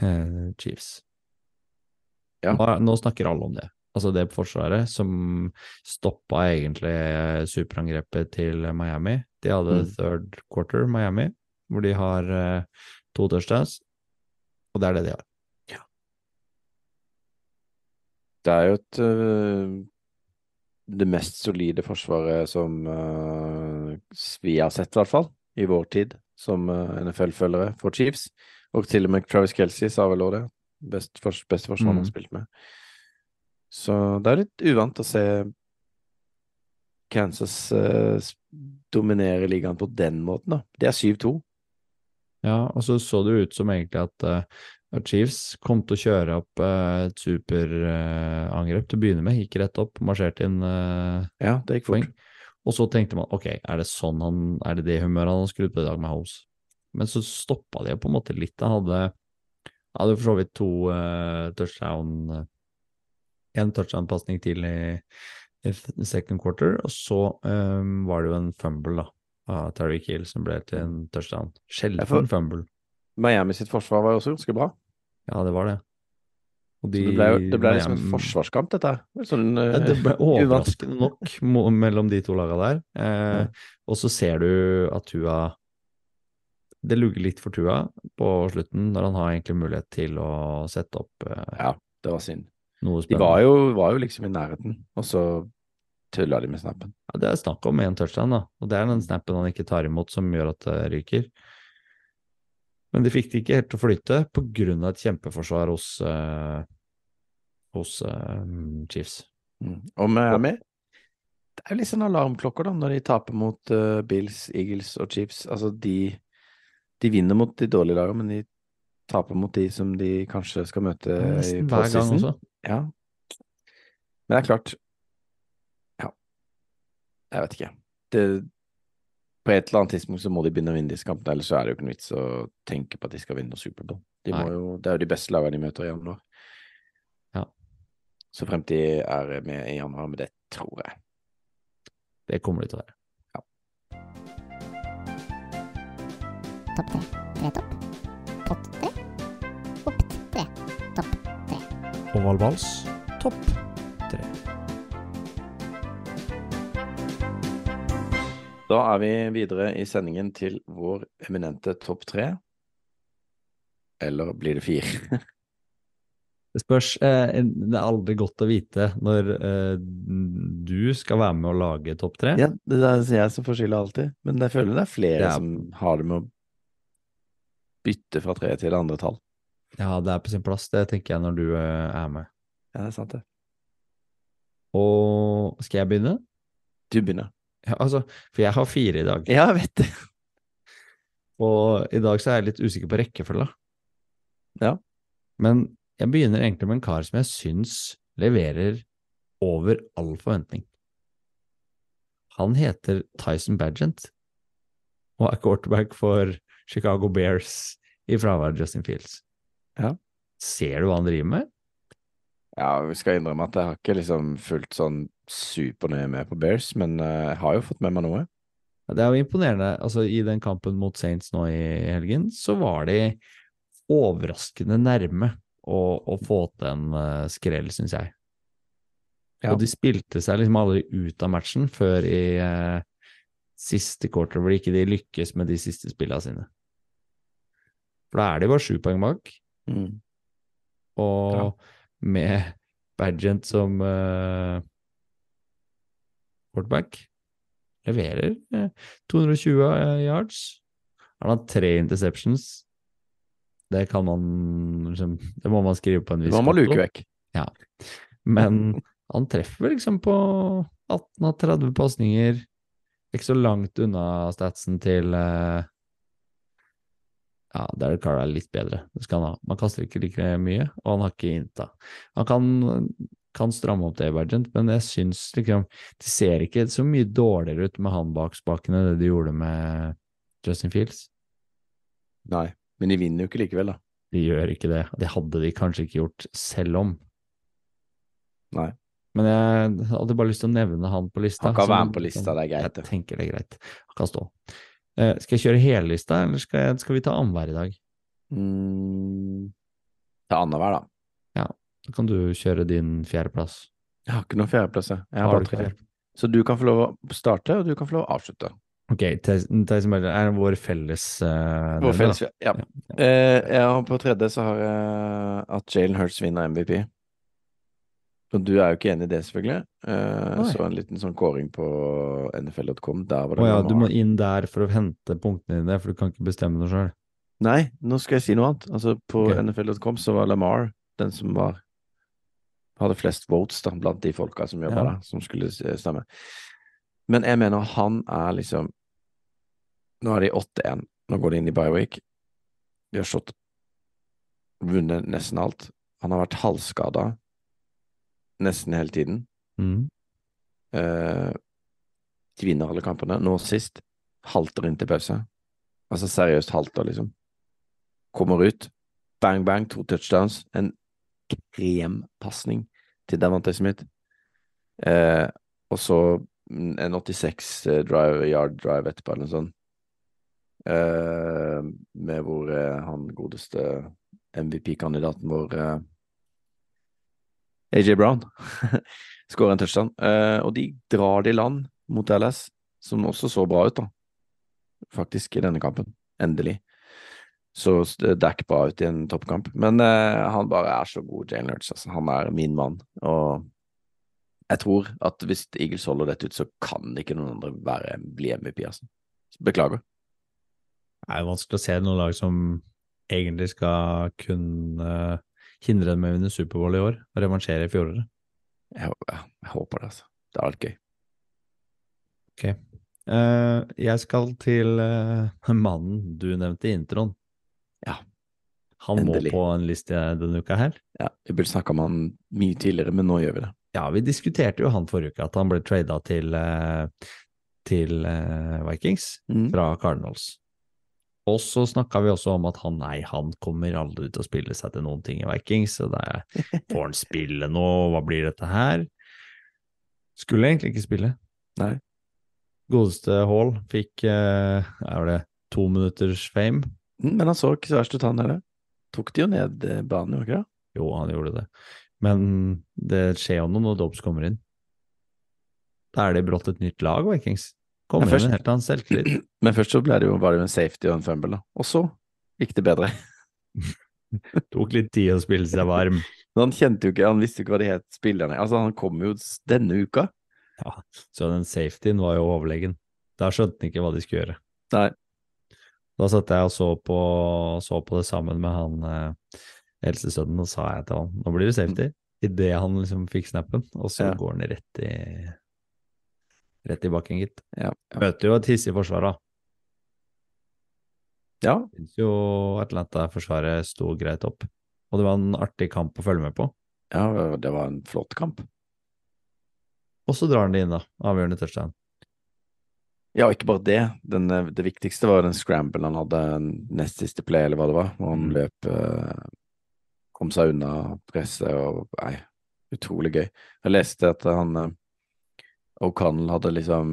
B: eh, Chiefs.
A: Ja.
B: Nå, nå snakker alle om det. Altså det forsvaret som stoppa egentlig eh, superangrepet til Miami. De hadde
A: Mm.
B: third quarter Miami, hvor de har eh, to touchdowns, og det er det de har.
A: Det er jo et eh, Det mest solide forsvaret som eh, vi har sett, i hvert fall, i vår tid, som eh, NFL-følgere for Chiefs. Og til og med Travis Kelsey sa vel også det. Best fors beste forsvar han har
B: Mm.
A: spilt med. Så det er litt uvant å se Kansas eh, s- dominere ligaen på den måten, da. De er 7-2.
B: Ja, og så så det jo ut som egentlig at eh, Chiefs kom til å kjøre opp eh, et superangrep til å begynne med. Gikk rett opp, marsjerte inn eh,
A: Ja, det gikk
B: poeng.
A: fort.
B: Og så tenkte man ok, er det sånn han, er det det humøret han har skrudd på i dag med Holmes? Men så stoppa de jo på en måte litt. Han hadde, han hadde jo for så vidt to eh, touchdown Én touchdown-pasning til i, i second quarter, og så eh, var det jo en fumble da, av Tariq Hill som ble til en touchdown.
A: Ja, for-
B: Sjelden fumble.
A: Miami sitt forsvar var jo også ganske bra.
B: Ja, det var det. Og
A: Så det ble, jo- det ble liksom en
B: Miami-
A: forsvarskamp, dette her. Det er Sånn,
B: Ja, det ble
A: uvant.
B: overraskende nok mo- mellom de to laga der. Eh,
A: Ja.
B: Og så ser du at Tua Det lugger litt for Tua på slutten, når han har egentlig mulighet til å sette opp eh,
A: Ja, det var synd.
B: noe
A: De var
B: spennende.
A: jo, var jo liksom i nærheten, og så tulla de med snappen.
B: Ja, det er snakk om én touchdown, da. Og det er den snappen han ikke tar imot, som gjør at det ryker. Men de fikk det ikke helt til å flyte på grunn av et kjempeforsvar hos, eh, hos eh, Chiefs.
A: Og Miami Det er jo litt sånn alarmklokker, da, når de taper mot eh, Bills, Eagles og Chiefs. Altså, de De vinner mot de dårlige lagene, men de taper mot de som de kanskje skal møte
B: Ja,
A: Eh, i
B: Nesten hver gang
A: postseason.
B: også.
A: Ja. Men det er klart, Jeg vet ikke. Det, på et eller annet tidspunkt så må de begynne å vinne disse kampene, ellers så er det jo ikke noe vits å tenke på at de skal vinne Superbowl. De må
B: Nei.
A: jo, det er jo de beste lagene de møter i januar.
B: Ja.
A: Så frem til er med i januar, men det tror jeg.
B: Det kommer de til å være.
C: Topp tre. Tre topp. Pott tre. Opp tre. Topp.
B: Oval vals, topp tre.
A: Da er vi videre i sendingen til vår eminente topp tre. Eller blir det fire?
B: Det spørs. Eh, det er aldri godt å vite når eh, du skal være med å lage topp tre.
A: Ja, det er jeg som får skylda alltid, men jeg føler det er flere
B: Det er-
A: som har det med å bytte fra tre til det andre tall.
B: Ja, det er på sin plass, det tenker jeg, når du eh, er med.
A: Ja, det er sant det.
B: Og skal jeg begynne?
A: Du begynner.
B: Ja, altså, for jeg har fire i dag.
A: Ja, jeg vet det.
B: Og i dag så er jeg litt usikker på rekkefølga.
A: Ja.
B: Men jeg begynner egentlig med en kar som jeg syns leverer over all forventning. Han heter Tyson Badgent og er quarterback for Chicago Bears i fravær av Justin Fields.
A: Ja.
B: Ser du hva han driver med?
A: Ja, jeg skal innrømme at jeg har ikke liksom fulgt sånn supernøye med på Bears, men eh, jeg har jo fått med meg noe.
B: Det er jo imponerende. Altså, I den kampen mot Saints nå i helgen, så var de overraskende nærme å, å få til en eh, skrell, syns jeg.
A: Ja.
B: Og de spilte seg liksom aldri ut av matchen før i eh, siste quarter, hvor ikke de lykkes med de siste spillene sine. For da er de bare sju poeng bak,
A: Mm.
B: og
A: Ja.
B: med Badgent som eh, quarterback leverer eh, 220 eh, yards. Han har tre interceptions. Det kan man liksom, Det må man skrive på en viss
A: Man må luke
B: konto.
A: vekk.
B: Men han treffer liksom på 18 av 30 pasninger. Ikke så langt unna statsen til eh, Ja, Derek Carr er litt bedre. Det skal han ha. Man kaster ikke like mye, og han har ikke innta. Han kan, kan stramme opp det, Bergent, men jeg syns liksom Det ser ikke så mye dårligere ut med han bak spakene enn det de gjorde med Justin Fields.
A: Nei, men de vinner jo ikke likevel, da.
B: De gjør ikke det. Det hadde de kanskje ikke gjort selv om.
A: Nei.
B: Men jeg hadde bare lyst til å nevne han på lista.
A: Han kan
B: som
A: være med
B: en
A: på lista,
B: sånn-
A: det er greit, det.
B: Jeg tenker det er greit. Han kan stå. Eh, skal jeg kjøre hele lista, eller skal, jeg, skal vi ta annenhver i dag?
A: Mm. Det er annenhver, da.
B: Da kan du kjøre din fjerdeplass.
A: Jeg har ikke noen fjerdeplass, jeg. Jeg
B: Har
A: har
B: du
A: bare
B: ikke
A: tre.
B: fjerde?
A: Så du kan få lov å starte, og du kan få lov å avslutte.
B: Ok, Tyson Tyson Berger er vår felles eh,
A: Vår
B: nevner,
A: felles,
B: da.
A: ja. Eh, jeg har på tredje så har jeg at Jalen Hurts vinner MVP. Og du er jo ikke enig i det, selvfølgelig. Eh,
B: Nei.
A: så en liten sånn kåring på nfl.com. Der var
B: Å
A: det
B: ja,
A: noe
B: du må
A: annet.
B: inn der for å hente punktene dine, for du kan ikke bestemme noe sjøl.
A: Nei, nå skal jeg si noe annet. Altså, på
B: Ok.
A: nfl.com så var Lamar den som var hadde flest votes da, blant de folka som jobba
B: Ja.
A: der, som skulle eh, stemme. Men jeg mener han er liksom Nå er de 8-1. Nå går de inn i Biweek. De har slått Vunnet nesten alt. Han har vært halvskada nesten hele tiden.
B: Mm.
A: Eh, de vinner alle kampene. Nå sist halter inn til pause. Altså seriøst halter, liksom. Kommer ut. Bang, bang, to touchdowns. En krempasning til Davante Smith. Eh, og så mm, en 86 eh, drive, yard drive etterpå, eller noe sånt. Eh, med hvor eh, han godeste MVP-kandidaten vår eh, AJ Brown skårer en touchdown. Eh, og de drar det i land mot LS, som også så bra ut, da. Faktisk, i denne kampen. Endelig. Så s- det er ikke bra ut i en toppkamp. Men eh, han bare er så god, Jalen Hurts. Altså. Han er min mann. Og jeg tror at hvis Eagles holder dette ut, så kan ikke noen andre være, bli MVP, altså. Beklager.
B: Det er jo vanskelig å se noen lag som egentlig skal kunne hindre dem i å vinne Superbowl i år, og revansjere i fjoråret.
A: Jeg, hå- jeg, jeg håper det, altså. Det hadde vært gøy.
B: Eh, jeg skal til eh, mannen du nevnte i introen.
A: Ja.
B: Han
A: Endelig.
B: må på en liste denne uka her.
A: Ja, vi burde snakka om han mye tidligere, men nå gjør vi det.
B: Ja, vi diskuterte jo han forrige uke, at han ble trada til, eh, til eh, Vikings
A: Mm.
B: fra Cardinals. Og så snakka vi også om at han nei, han kommer aldri til å spille seg til noen ting i Vikings. Så det er, får han spille nå, hva blir dette her? Skulle egentlig ikke spille.
A: Nei.
B: Godeste Hall fikk eh, er det to minutters fame.
A: Mm, Men han så ikke så verst ut, han heller. Tok de jo ned eh, banen, gjorde de ikke det?
B: Jo, han gjorde det. Men det skjer jo noe når Dobbs kommer inn. Da er det brått et nytt lag, Vikings. Kommer
A: Ja, først-
B: inn med en helt annen selvtillit.
A: Men først så ble det jo bare en safety og en fumble, da. Og så gikk det bedre.
B: Tok litt tid å spille seg varm.
A: Men han kjente jo ikke, han visste jo ikke hva de het spillerne. Altså, han kom jo s- denne uka.
B: Ja, så den safetyen var jo overlegen. Da skjønte han ikke hva de skulle gjøre.
A: Nei.
B: Da satt jeg og så på, så på det sammen med han eh, eldstesønnen, og sa jeg til han nå blir det safety. Idet han liksom fikk snappen, og
A: Mm.
B: så
A: Ja.
B: går han rett i rett i bakken, gitt.
A: Ja, ja.
B: Møter jo et hissig forsvar, da.
A: ja.
B: Syns jo Atlanta-forsvaret sto greit opp. Og det var en artig kamp å følge med på.
A: Ja, det var en flott kamp.
B: Og så drar han det inn, da. Avgjørende touchdown.
A: Ja, og ikke bare det. Den, eh, det viktigste var den scramble han hadde eh, nest siste play, eller hva det var, hvor han
B: Mm.
A: løp eh, Kom seg unna presset og Nei, utrolig gøy. Jeg leste at han eh, O'Connell hadde liksom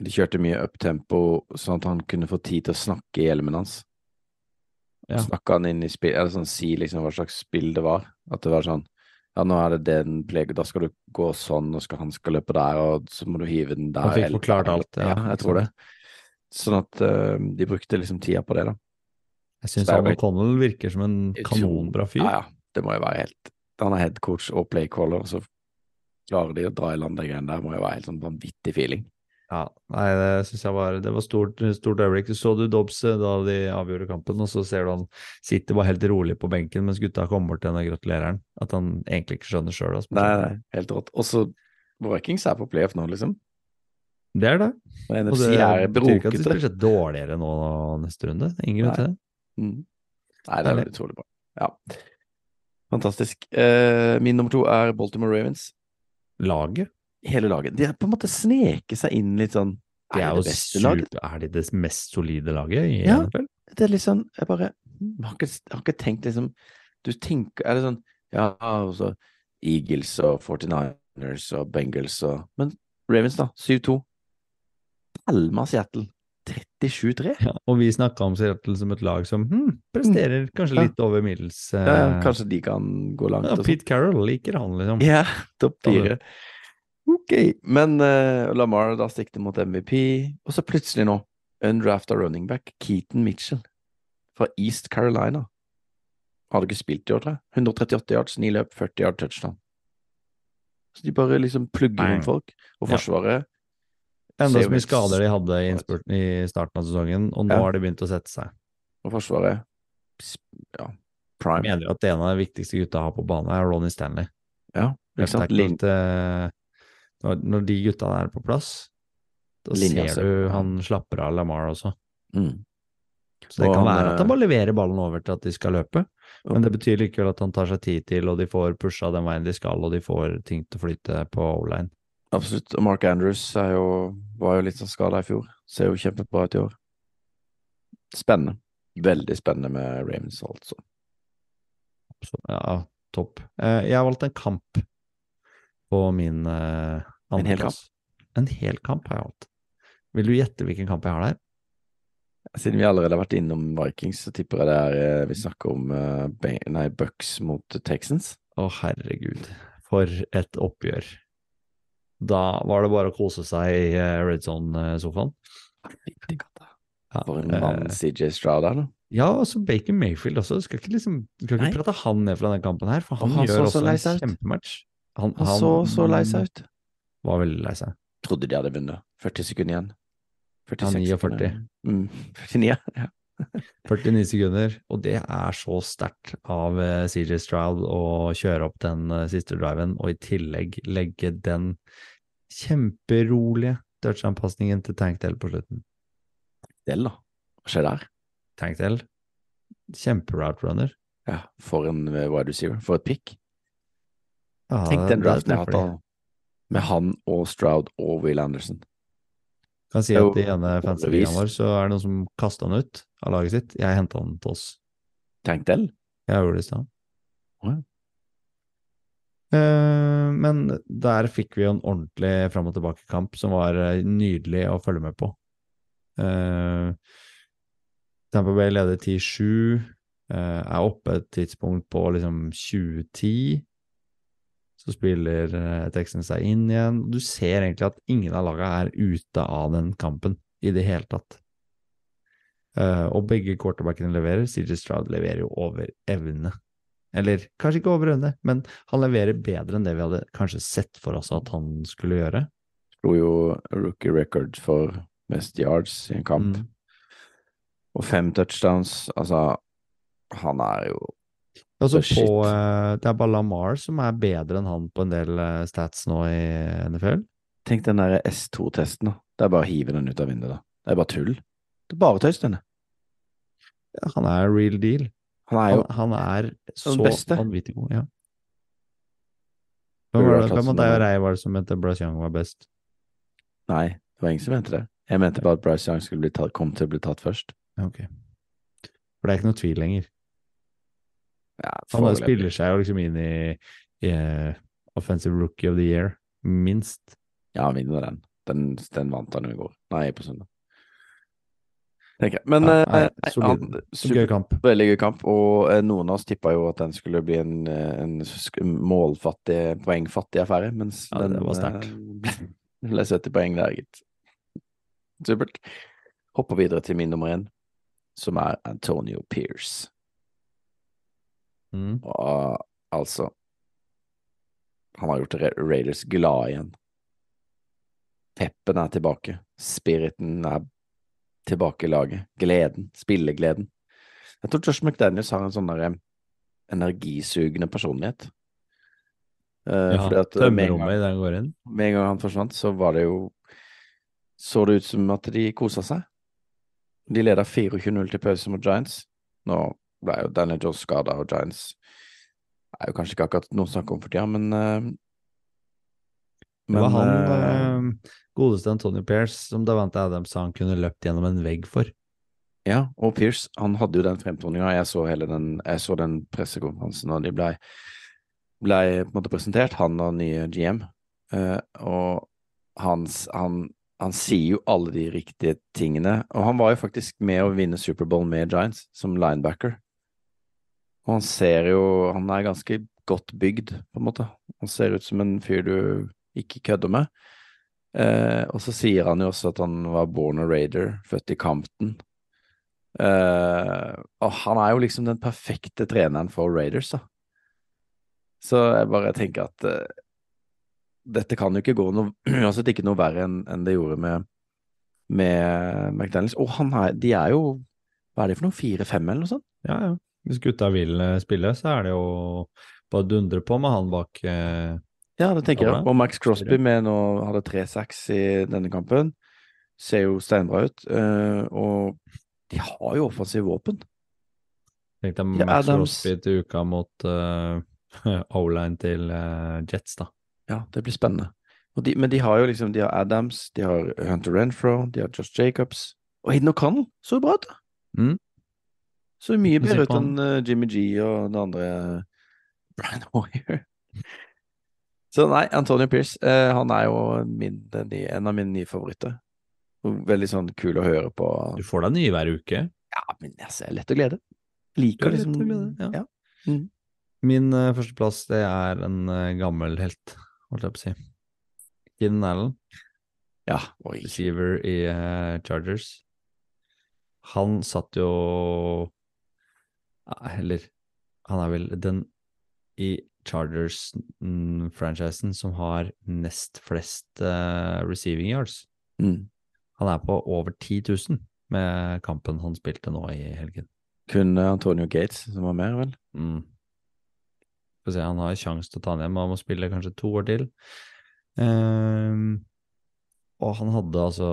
A: De kjørte mye uptempo, sånn at han kunne få tid til å snakke i hjelmen hans.
B: Ja.
A: Snakka han inn i spill, eller sånn si liksom hva slags spill det var. At det var sånn Ja, nå er det den play, da skal du gå sånn, og skal, han skal løpe der, og så må du hive den der.
B: Han fikk
A: eller-
B: forklart alt,
A: Ja,
B: ja.
A: jeg tror det. Sånn at eh, de brukte liksom tida på det, da.
B: Jeg syns
A: Så det er
B: han
A: jo-
B: O'Connell virker som en kanonbra fyr.
A: Ja, ja. Det må jo være helt Han er headcoach og playcaller, og så klarer de å dra i land de greiene der. Må jo være helt sånn vanvittig feeling.
B: Ja, nei, det synes jeg var Det var stort, stort øyeblikk. Du så du Dobbs eh, da de avgjorde kampen, og så ser du han sitter bare helt rolig på benken mens gutta kommer bort til henne og gratulerer han. At han egentlig ikke skjønner altså. sjøl.
A: Nei, nei, helt rått. Og så Vikings er på playoff nå, liksom.
B: Det er det.
A: Og
B: Og
A: NFC
B: det
A: er
B: betyr ikke at de
A: brokete.
B: spiller seg dårligere nå neste runde. Ingen grunn
A: Nei.
B: til det.
A: Mm. Nei, det
B: Herlig.
A: er utrolig bra. Ja. Fantastisk. Eh, min nummer to er Baltimore Ravens.
B: Laget
A: Hele laget. De har på en måte sneket seg inn litt sånn
B: de er,
A: Er
B: jo
A: det det beste laget?
B: super, er de det mest solide laget i
A: Ja.
B: NFL?
A: Det er litt sånn Jeg bare jeg har ikke, jeg har ikke tenkt liksom Du tenker Er det sånn Ja, og så Eagles og 49ers og Bengals og Men Ravens, da. 7-2. Palma Seattle. 37-3.
B: Ja, og vi snakka om Seattle som et lag som hm, presterer kanskje
A: Ja.
B: litt over middels. eh,
A: Ja, ja, kanskje de kan gå langt.
B: ja,
A: og sånn.
B: Pete Carroll liker han, liksom.
A: Ja, topp
B: Ta det.
A: fire. Ok, men eh, Lamar da sikter mot MVP, og så plutselig nå, undrafta running back, Keaton Mitchell fra East Carolina. Hadde ikke spilt i år, tror jeg. 138 yards, 9 løp, 40 yard touchdown. Så de bare liksom plugger
B: Bang.
A: inn folk, og
B: Ja.
A: Forsvaret
B: Enda
A: ser
B: så
A: jo
B: mye
A: helt
B: skader de hadde i, innspurten i starten av sesongen, og nå
A: Ja.
B: har de begynt å sette seg.
A: og forsvaret, s- ja,
B: Jeg
A: prime.
B: mener at en av de viktigste gutta har på banen, er Ronny Stanley.
A: Ja, ikke
B: Jeg
A: sant?
B: tenker
A: Lin
B: at, eh, når, når de gutta er på plass, da
A: Linja
B: ser
A: ser-
B: du han slapper av Lamar også.
A: mm.
B: Så det
A: Og
B: kan
A: han,
B: være at han
A: eh,
B: bare leverer ballen over til at de skal løpe,
A: og-
B: men det betyr likevel at han tar seg tid til, og de får pusha den veien de skal, og de får ting til å flyte på o-line.
A: Absolutt. Og Mark Andrews er jo, var jo litt sånn skada i fjor. Ser jo kjempebra ut i år. Spennende. Veldig spennende med Ravens, altså.
B: Så, ja, topp. Eh, jeg har valgt en kamp på min eh,
A: En hel
B: andreplass. En hel kamp har jeg valgt. Vil du gjette hvilken kamp jeg har der?
A: Siden vi allerede har vært innom Vikings, så tipper jeg det er eh, vi snakker om eh, Ben- nei, Bucks mot Texans.
B: Å, herregud. For et oppgjør. Da var det bare å kose seg i eh, Red Zone-sofaen. Ja,
A: For en
B: eh,
A: mann CJ Stroud er, da.
B: ja, og så Baker Mayfield også. Du skal ikke, liksom, du skal ikke
A: Nei.
B: prate han ned fra den kampen her, for
A: Og
B: han,
A: han så
B: gjør
A: så
B: også
A: lei seg
B: en
A: ut.
B: kjempematch. Han,
A: Han så så lei seg ut.
B: Var veldig lei seg.
A: Trodde de hadde vunnet. 40 sekunder igjen.
B: Han
A: 46
B: 49.
A: sekunder. Mm. 49, ja.
B: 49 sekunder, og det er så sterkt av eh, CJ Stroud å kjøre opp den eh, siste driven, og i tillegg legge den kjemperolige touch-anpasningen til Tank Dell på slutten.
A: Del, da. Hva skjer der?
B: Tank Dell, kjemperouterunner.
A: Ja, for en eh, wide receiver. For et pick.
B: Ja,
A: Tenk den
B: det- det
A: draften jeg har
B: treffer
A: hatt
B: de.
A: da. Med han og Stroud og Will Anderson.
B: Kan si
A: Jo,
B: at i ene fanserien
A: overbevist.
B: vår så er det noen som kasta han ut av laget sitt. Jeg henta han til oss.
A: Tenk til.
B: Jeg gjorde det i stad.
A: Å ja.
B: Eh, Men der fikk vi jo en ordentlig fram og tilbake-kamp som var eh, nydelig å følge med på. Eh, Tampa Bay leder 10-7, eh, er oppe et tidspunkt på liksom 2010. Så spiller eh, Texans seg inn igjen. Du ser egentlig at ingen av laga er ute av den kampen i det hele tatt. Eh, og begge quarterbackene leverer. CJ Stroud leverer jo over evne. Eller kanskje ikke over evne, men han leverer bedre enn det vi hadde kanskje sett for oss at han skulle gjøre.
A: Slo jo rookie record for mest yards i en kamp.
B: Mm.
A: Og fem touchdowns. Altså, han er jo
B: Altså
A: Oh, shit.
B: på, eh, det er bare Lamar som er bedre enn han på en del eh, stats nå i NFL.
A: Tenk den der S2-testen, da. Det er bare å hive den ut av vinduet, da. Det er bare tull. Det er bare tøys, denne.
B: Han er real deal.
A: Han er jo
B: Han, han er så
A: beste.
B: vanvittig god. Ja.
A: Burde
B: Hvem, var
A: vært
B: det,
A: tatt
B: hvem
A: som
B: av deg og
A: nummer-
B: Rei var det som mente Bryce Young var best?
A: Nei, det var ingen som mente det. Jeg mente bare at Bryce Young skulle bli tatt, kom til å bli tatt først.
B: Ok. For det er ikke noe tvil lenger.
A: Ja,
B: Han bare
A: foreløpig.
B: spiller seg jo liksom inn i, i eh, Offensive Rookie of the Year, minst.
A: Ja, han vinner den. den. Den vant han jo i går. Nei, på søndag. Tenker jeg. Men
B: Ja,
A: eh,
B: nei,
A: nei,
B: solid.
A: han,
B: Gøy
A: super,
B: kamp.
A: veldig gøy kamp, og eh, noen av oss tippa jo at den skulle bli en, eh, en sk- målfattig, poengfattig affære, mens
B: Ja,
A: den
B: det var
A: eh, ble 70 poeng der, gitt. Supert. Hopper videre til min nummer én, som er Antonio Pierce.
B: Mm.
A: Og altså Han har gjort Ra- Raiders glad igjen. Peppen er tilbake. Spiriten er tilbake i laget. Gleden. Spillegleden. Jeg tror Josh McDaniels har en sånn der energisugende personlighet. Eh,
B: Ja,
A: fordi at eh, med en gang-
B: Tømmerrommet i den går inn.
A: med en gang han forsvant, så var det jo Så det ut som at de kosa seg. De leda 24-0 til pause mot Giants. Nå ble jo Daniel Jones skada, og Giants er jo kanskje ikke akkurat noe å snakke om for tida, men eh,
B: Det var han
A: eh,
B: eh, godeste Antonio Pierce som Davante Adams sa han kunne løpt gjennom en vegg for.
A: Ja, og Pierce, han hadde jo den fremtoninga. Jeg så hele den, jeg så den pressekonferansen da de blei ble på en måte presentert, han og nye GM. Eh, og hans, han, han sier jo alle de riktige tingene. Og han var jo faktisk med å vinne Superbowl med Giants, som linebacker. Og han ser jo Han er ganske godt bygd, på en måte. Han ser ut som en fyr du ikke kødder med. Eh, og så sier han jo også at han var born a raider, født i Campton. Eh, og han er jo liksom den perfekte treneren for Raiders, da. Så jeg bare tenker at eh, dette kan jo ikke gå noe Uansett ikke noe verre enn enn det gjorde med, med McDaniels. Og han er, de er jo Hva er det for noe? Fire-fem, eller noe sånt?
B: Ja, ja. Hvis gutta vil eh, spille, så er det jo bare å dundre på med han bak eh,
A: Ja, det tenker jeg.
B: Ja, bra.
A: Og Max Crosby med nå hadde tre sacks i denne kampen. Ser jo steinbra ut. eh, og de har jo offensiv våpen.
B: Tenk deg
A: Ja,
B: Max
A: Adams.
B: Crosby til uka mot eh, O-line til eh, Jets, da.
A: Ja, det blir spennende. Og de, men de har jo liksom De har Adams, de har Hunter Renfro, de har Josh Jacobs. Og Hayden O'Connell så jo bra ut! da.
B: Mm.
A: Så mye
B: Men se
A: bedre ut
B: på
A: enn eh, Jimmy G og den andre eh, Brian Hoyer. Så nei, Antonio Pierce, eh, han er jo min, den nye- en av mine nye favoritter. Og Veldig sånn kul å høre på.
B: Du får deg nye hver uke.
A: Ja, men altså, lett å glede. Liker
B: Ja, lett
A: liksom
B: å glede, ja.
A: ja.
B: Min eh, førsteplass, det er en eh, gammel helt, holdt jeg på å si. Keenan Allen,
A: ja. Oi.
B: receiver i eh, Chargers. Han satt jo Nei, Eller, han er vel den i Chargers-franchisen som har nest flest eh, receiving yards.
A: Mm.
B: Han er på over 10 000 med kampen han spilte nå i helgen.
A: Kun eh, Antonio Gates som var med, vel?
B: Mm. Får se, han har sjanse til å ta den igjen, men han må spille kanskje to år til. Ehm, og han hadde altså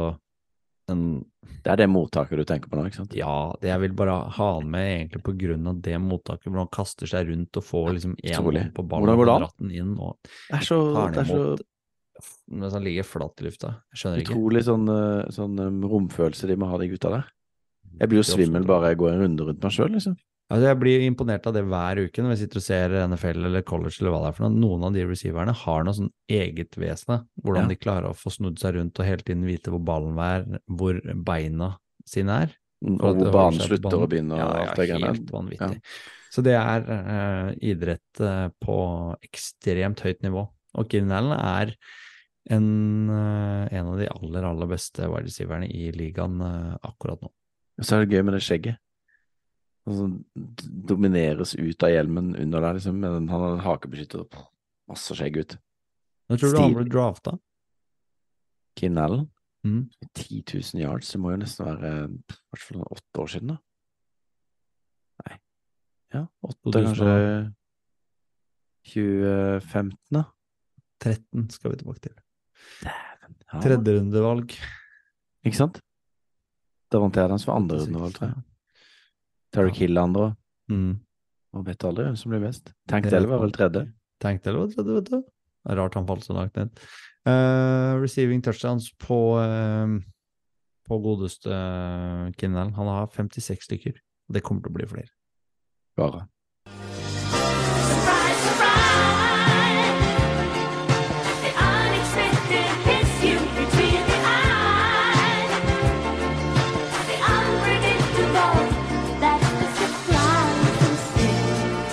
B: en
A: Det er det mottaket du tenker på nå, ikke sant?
B: Ja, det jeg vil bare ha han med egentlig på grunn av det mottaket, hvor han kaster seg rundt og får liksom én
A: Utrolig.
B: hånd på ballen
A: Hvordan går det
B: og
A: an?
B: dratt den inn. Og
A: Det er så,
B: tar
A: det
B: den
A: er så
B: imot mens han ligger flatt i lufta. Jeg skjønner ikke.
A: Utrolig sånn, eh, sånn eh, romfølelse de må ha, de gutta der. Jeg blir jo
B: Det er
A: svimmel
B: absolutt-
A: bare jeg går en runde rundt meg sjøl, liksom.
B: Altså, jeg blir imponert av det hver uke når jeg sitter og ser NFL eller college eller hva det er for noe. Noen av de receiverne har noe sånn eget vesen. da. Hvordan
A: Ja.
B: de klarer å få snudd seg rundt og hele tiden vite hvor ballen er, hvor beina sine er.
A: Mm,
B: For at
A: Og
B: det
A: hvor
B: holder
A: banen
B: seg på
A: slutter og
B: banen.
A: begynner
B: Ja,
A: og
B: ja,
A: alt det greiene der.
B: Helt vanvittig. Så det er eh, idrett eh, på ekstremt høyt nivå. Og Keenan Allen er en, eh, en av de aller, aller beste wide receiverne i ligaen eh, akkurat nå.
A: Og så er det gøy med det skjegget. Han sånn d- domineres ut av hjelmen under der, liksom. Men han har en hakebeskytter og masse skjegg ut.
B: Nå tror du han
A: Stil.
B: ble drafta.
A: Keen Allen.
B: Mm.
A: 10 000 yards, det må jo nesten være eh, i hvert fall åtte år siden, da. Nei Ja, åtte,
B: 2000
A: kanskje 2015, da.
B: 13 skal vi tilbake til.
A: Ja,
B: Tredjerundevalg.
A: Ikke sant? Da vant jeg den som var andre runde, vel, tror jeg. Tarek
B: Ja.
A: Hill andre,
B: Mm.
A: og vet aldri hvem som blir best. Tank
B: Det er
A: Dell var vel
B: sant.
A: tredje.
B: Tenk deg det var tredje, vet du. Det er Rart han falt så langt ned. Eh, receiving touchdowns på, eh, på godeste uh, Kinnell. Han har 56 stykker. Det kommer til å bli flere.
A: Bare.
D: Surprise, surprise! The unexpected hits you between the eyes. The unpredictable, that's the surprise.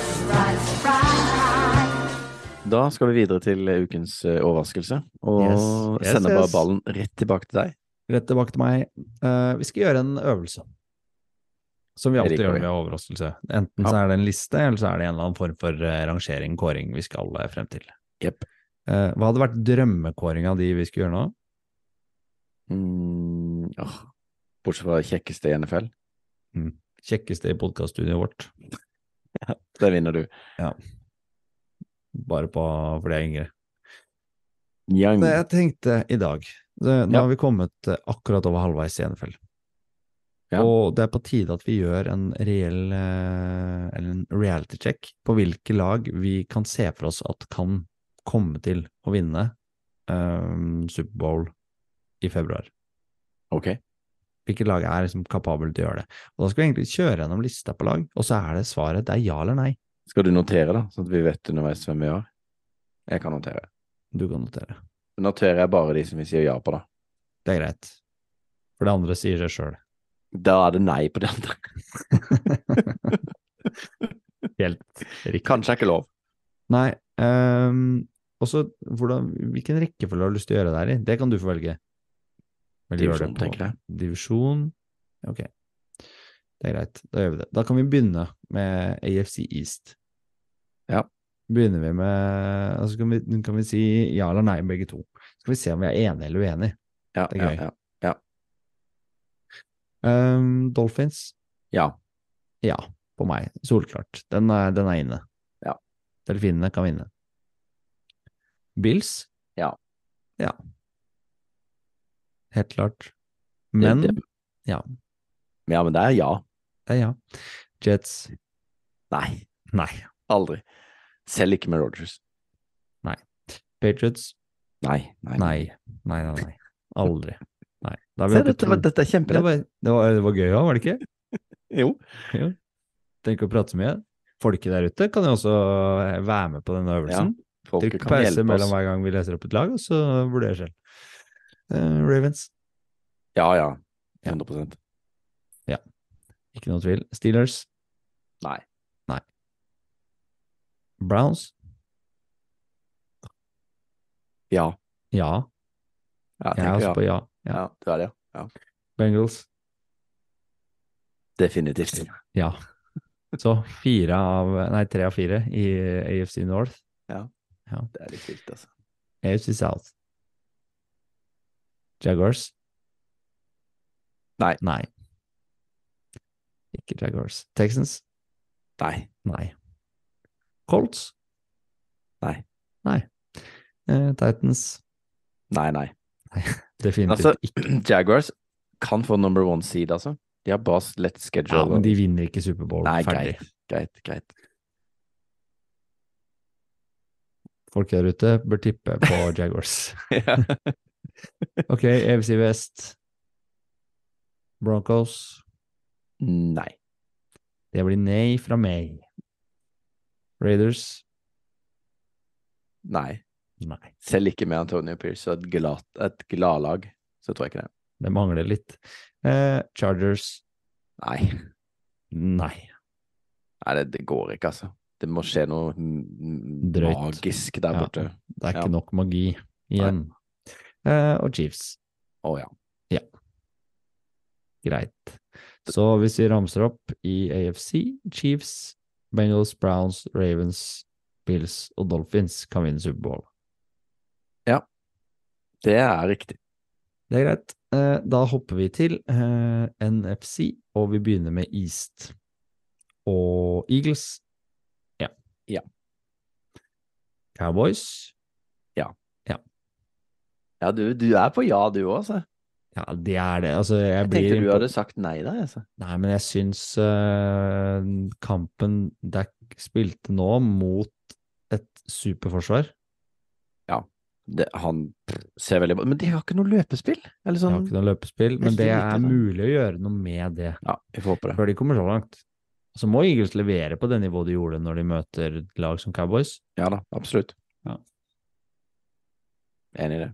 D: Surprise, surprise.
A: Da skal vi videre til eh, ukens eh, overraskelse, og
B: Yes. Yes,
A: sender bare
B: yes.
A: ballen rett tilbake til deg.
B: Rett tilbake til meg. Eh, vi skal gjøre en øvelse. Som vi
A: Det
B: alltid
A: liker
B: gjør
A: vi.
B: med overraskelse. Enten så er det en liste, eller så er det en eller annen form for eh, rangering, kåring, vi skal eh, frem til.
A: Jepp.
B: Eh, hva hadde vært drømmekåringa di vi skulle gjøre nå?
A: Mm, åh. Bortsett fra kjekkeste i NFL.
B: Kjekkeste i podkaststudioet vårt.
A: Den vinner du.
B: Bare på fordi jeg er yngre.
A: Young.
B: Det jeg tenkte i dag det, Nå
A: Ja.
B: har vi kommet eh, akkurat over halvveis i NFL.
A: Ja.
B: Og det er på tide at vi gjør en reell eh, eller en reality check på hvilke lag vi kan se for oss at kan komme til å vinne eh, Superbowl i februar.
A: Ok.
B: Hvilke lag er liksom kapable til å gjøre det? Og Da skal vi egentlig kjøre gjennom lista på lag, og så er det svaret det er ja eller nei.
A: Skal du notere, da, sånn at vi vet underveis hvem vi har? Jeg kan notere.
B: Du kan notere.
A: Noterer jeg bare de som vi sier ja på, da.
B: Det er greit. For det andre sier seg sjøl.
A: Da er det nei på de andre.
B: Helt riktig.
A: Kanskje er ikke lov.
B: Nei. ehm, også hvordan, hvilken rekkefølge har du lyst til å gjøre det her i? Det kan du få velge. Eller gjør det
A: Divisjon,
B: på-
A: tenker jeg.
B: Divisjon. Ok. Det er greit. Da gjør vi det. Da kan vi begynne med AFC East.
A: Ja.
B: Begynner vi med altså kan, vi, kan vi si ja eller nei, begge to. Så skal vi se om vi er enige eller uenige.
A: Ja,
B: Det er
A: ja,
B: gøy.
A: ja.
B: Ehm, Dolphins.
A: ja.
B: Ja, på meg. Solklart. Den er, den er inne.
A: Ja.
B: Delfinene kan vinne. Bills?
A: Ja.
B: Ja. Helt klart. Men
A: Det- det-
B: ja.
A: ja, men det er ja.
B: det er ja. Jets?
A: Nei.
B: Nei.
A: Aldri. Selv ikke med Rogers.
B: Patriots?
A: Nei. Nei.
B: Nei. Nei, nei, nei. Aldri. Nei. Da har vi
A: Se,
B: vært
A: dette, var-
B: to-
A: dette er
B: det,
A: kjempelett.
B: var, det, var, det var gøy òg, var det ikke?
A: Jo.
B: Trenger ikke å prate så mye. Folket der ute kan jo også eh, være med på denne
A: Ja.
B: øvelsen.
A: Folket
B: Trykk
A: kan
B: pause
A: hjelpe
B: mellom
A: oss.
B: hver gang vi leser opp et lag, og så vurderer selv. Eh, Ravens,
A: Ja, ja.
B: Ja.
A: 100
B: ikke noe tvil. Steelers?
A: Nei.
B: Nei. Browns?
A: Ja.
B: Ja.
A: ja
B: Jeg er
A: tenker
B: også
A: ja.
B: på ja. ja.
A: ja. Du er det, ja. ja.
B: Bengals?
A: Definitivt.
B: Ja. Så fire av, nei, tre av fire i AFC North.
A: Det er litt vilt, altså.
B: AFC South. Jaguars?
A: Nei.
B: Nei. Ikke Jaguars. Texans?
A: Nei.
B: Nei. Colts?
A: Nei.
B: Nei. Eh, Titans?
A: Nei, nei.
B: Definitivt
A: Altså,
B: ikke.
A: Jaguars kan få number one seed, altså. De har bra lett schedule.
B: Ja, men de vinner ikke Superbowl.
A: Nei,
B: Ferdig.
A: greit, greit.
B: Folk der ute bør tippe på Jaguars. Ok, EFC Vest. Broncos.
A: Nei.
B: Det blir nei fra meg. Raiders.
A: Nei.
B: Nei.
A: Selv ikke med Antonio Pierce og et, glad, et gladlag, så tror jeg ikke det.
B: Det mangler litt. Eh, Chargers.
A: Nei.
B: Nei.
A: Nei, det, det går ikke, altså. Det må skje noe m-
B: Drøyt.
A: magisk der
B: Ja.
A: borte. Å
B: Det er
A: Ja.
B: ikke nok magi igjen. Eh, og Chiefs.
A: ja.
B: Greit. Så hvis vi ramser opp i AFC, Chiefs, Bengals, Browns, Ravens, Bills og Dolphins kan vinne Superbowl.
A: Det er riktig.
B: Det er greit. Eh, Da hopper vi til eh, NFC, og vi begynner med East. Og Eagles. Ja.
A: Ja.
B: Cowboys.
A: Ja, du, du er på ja, du òg, altså.
B: Ja, det er det. Altså, jeg,
A: Jeg
B: blir
A: tenkte du
B: impo-
A: hadde sagt nei der, altså.
B: Nei, men jeg syns eh, kampen Dak spilte nå, mot et superforsvar
A: Det, han pff, ser veldig bra Men de har ikke noe løpespill? Eller
B: Jeg har
A: sånn
B: ikke noe løpespill, men
A: Veldig
B: det
A: lite,
B: er
A: da.
B: mulig å gjøre noe med det
A: Ja, vi får håpe det.
B: før de kommer så langt. Så må Eagles levere på det nivået de gjorde når de møter et lag som Cowboys.
A: Ja da, absolutt.
B: Ja.
A: Enig i det.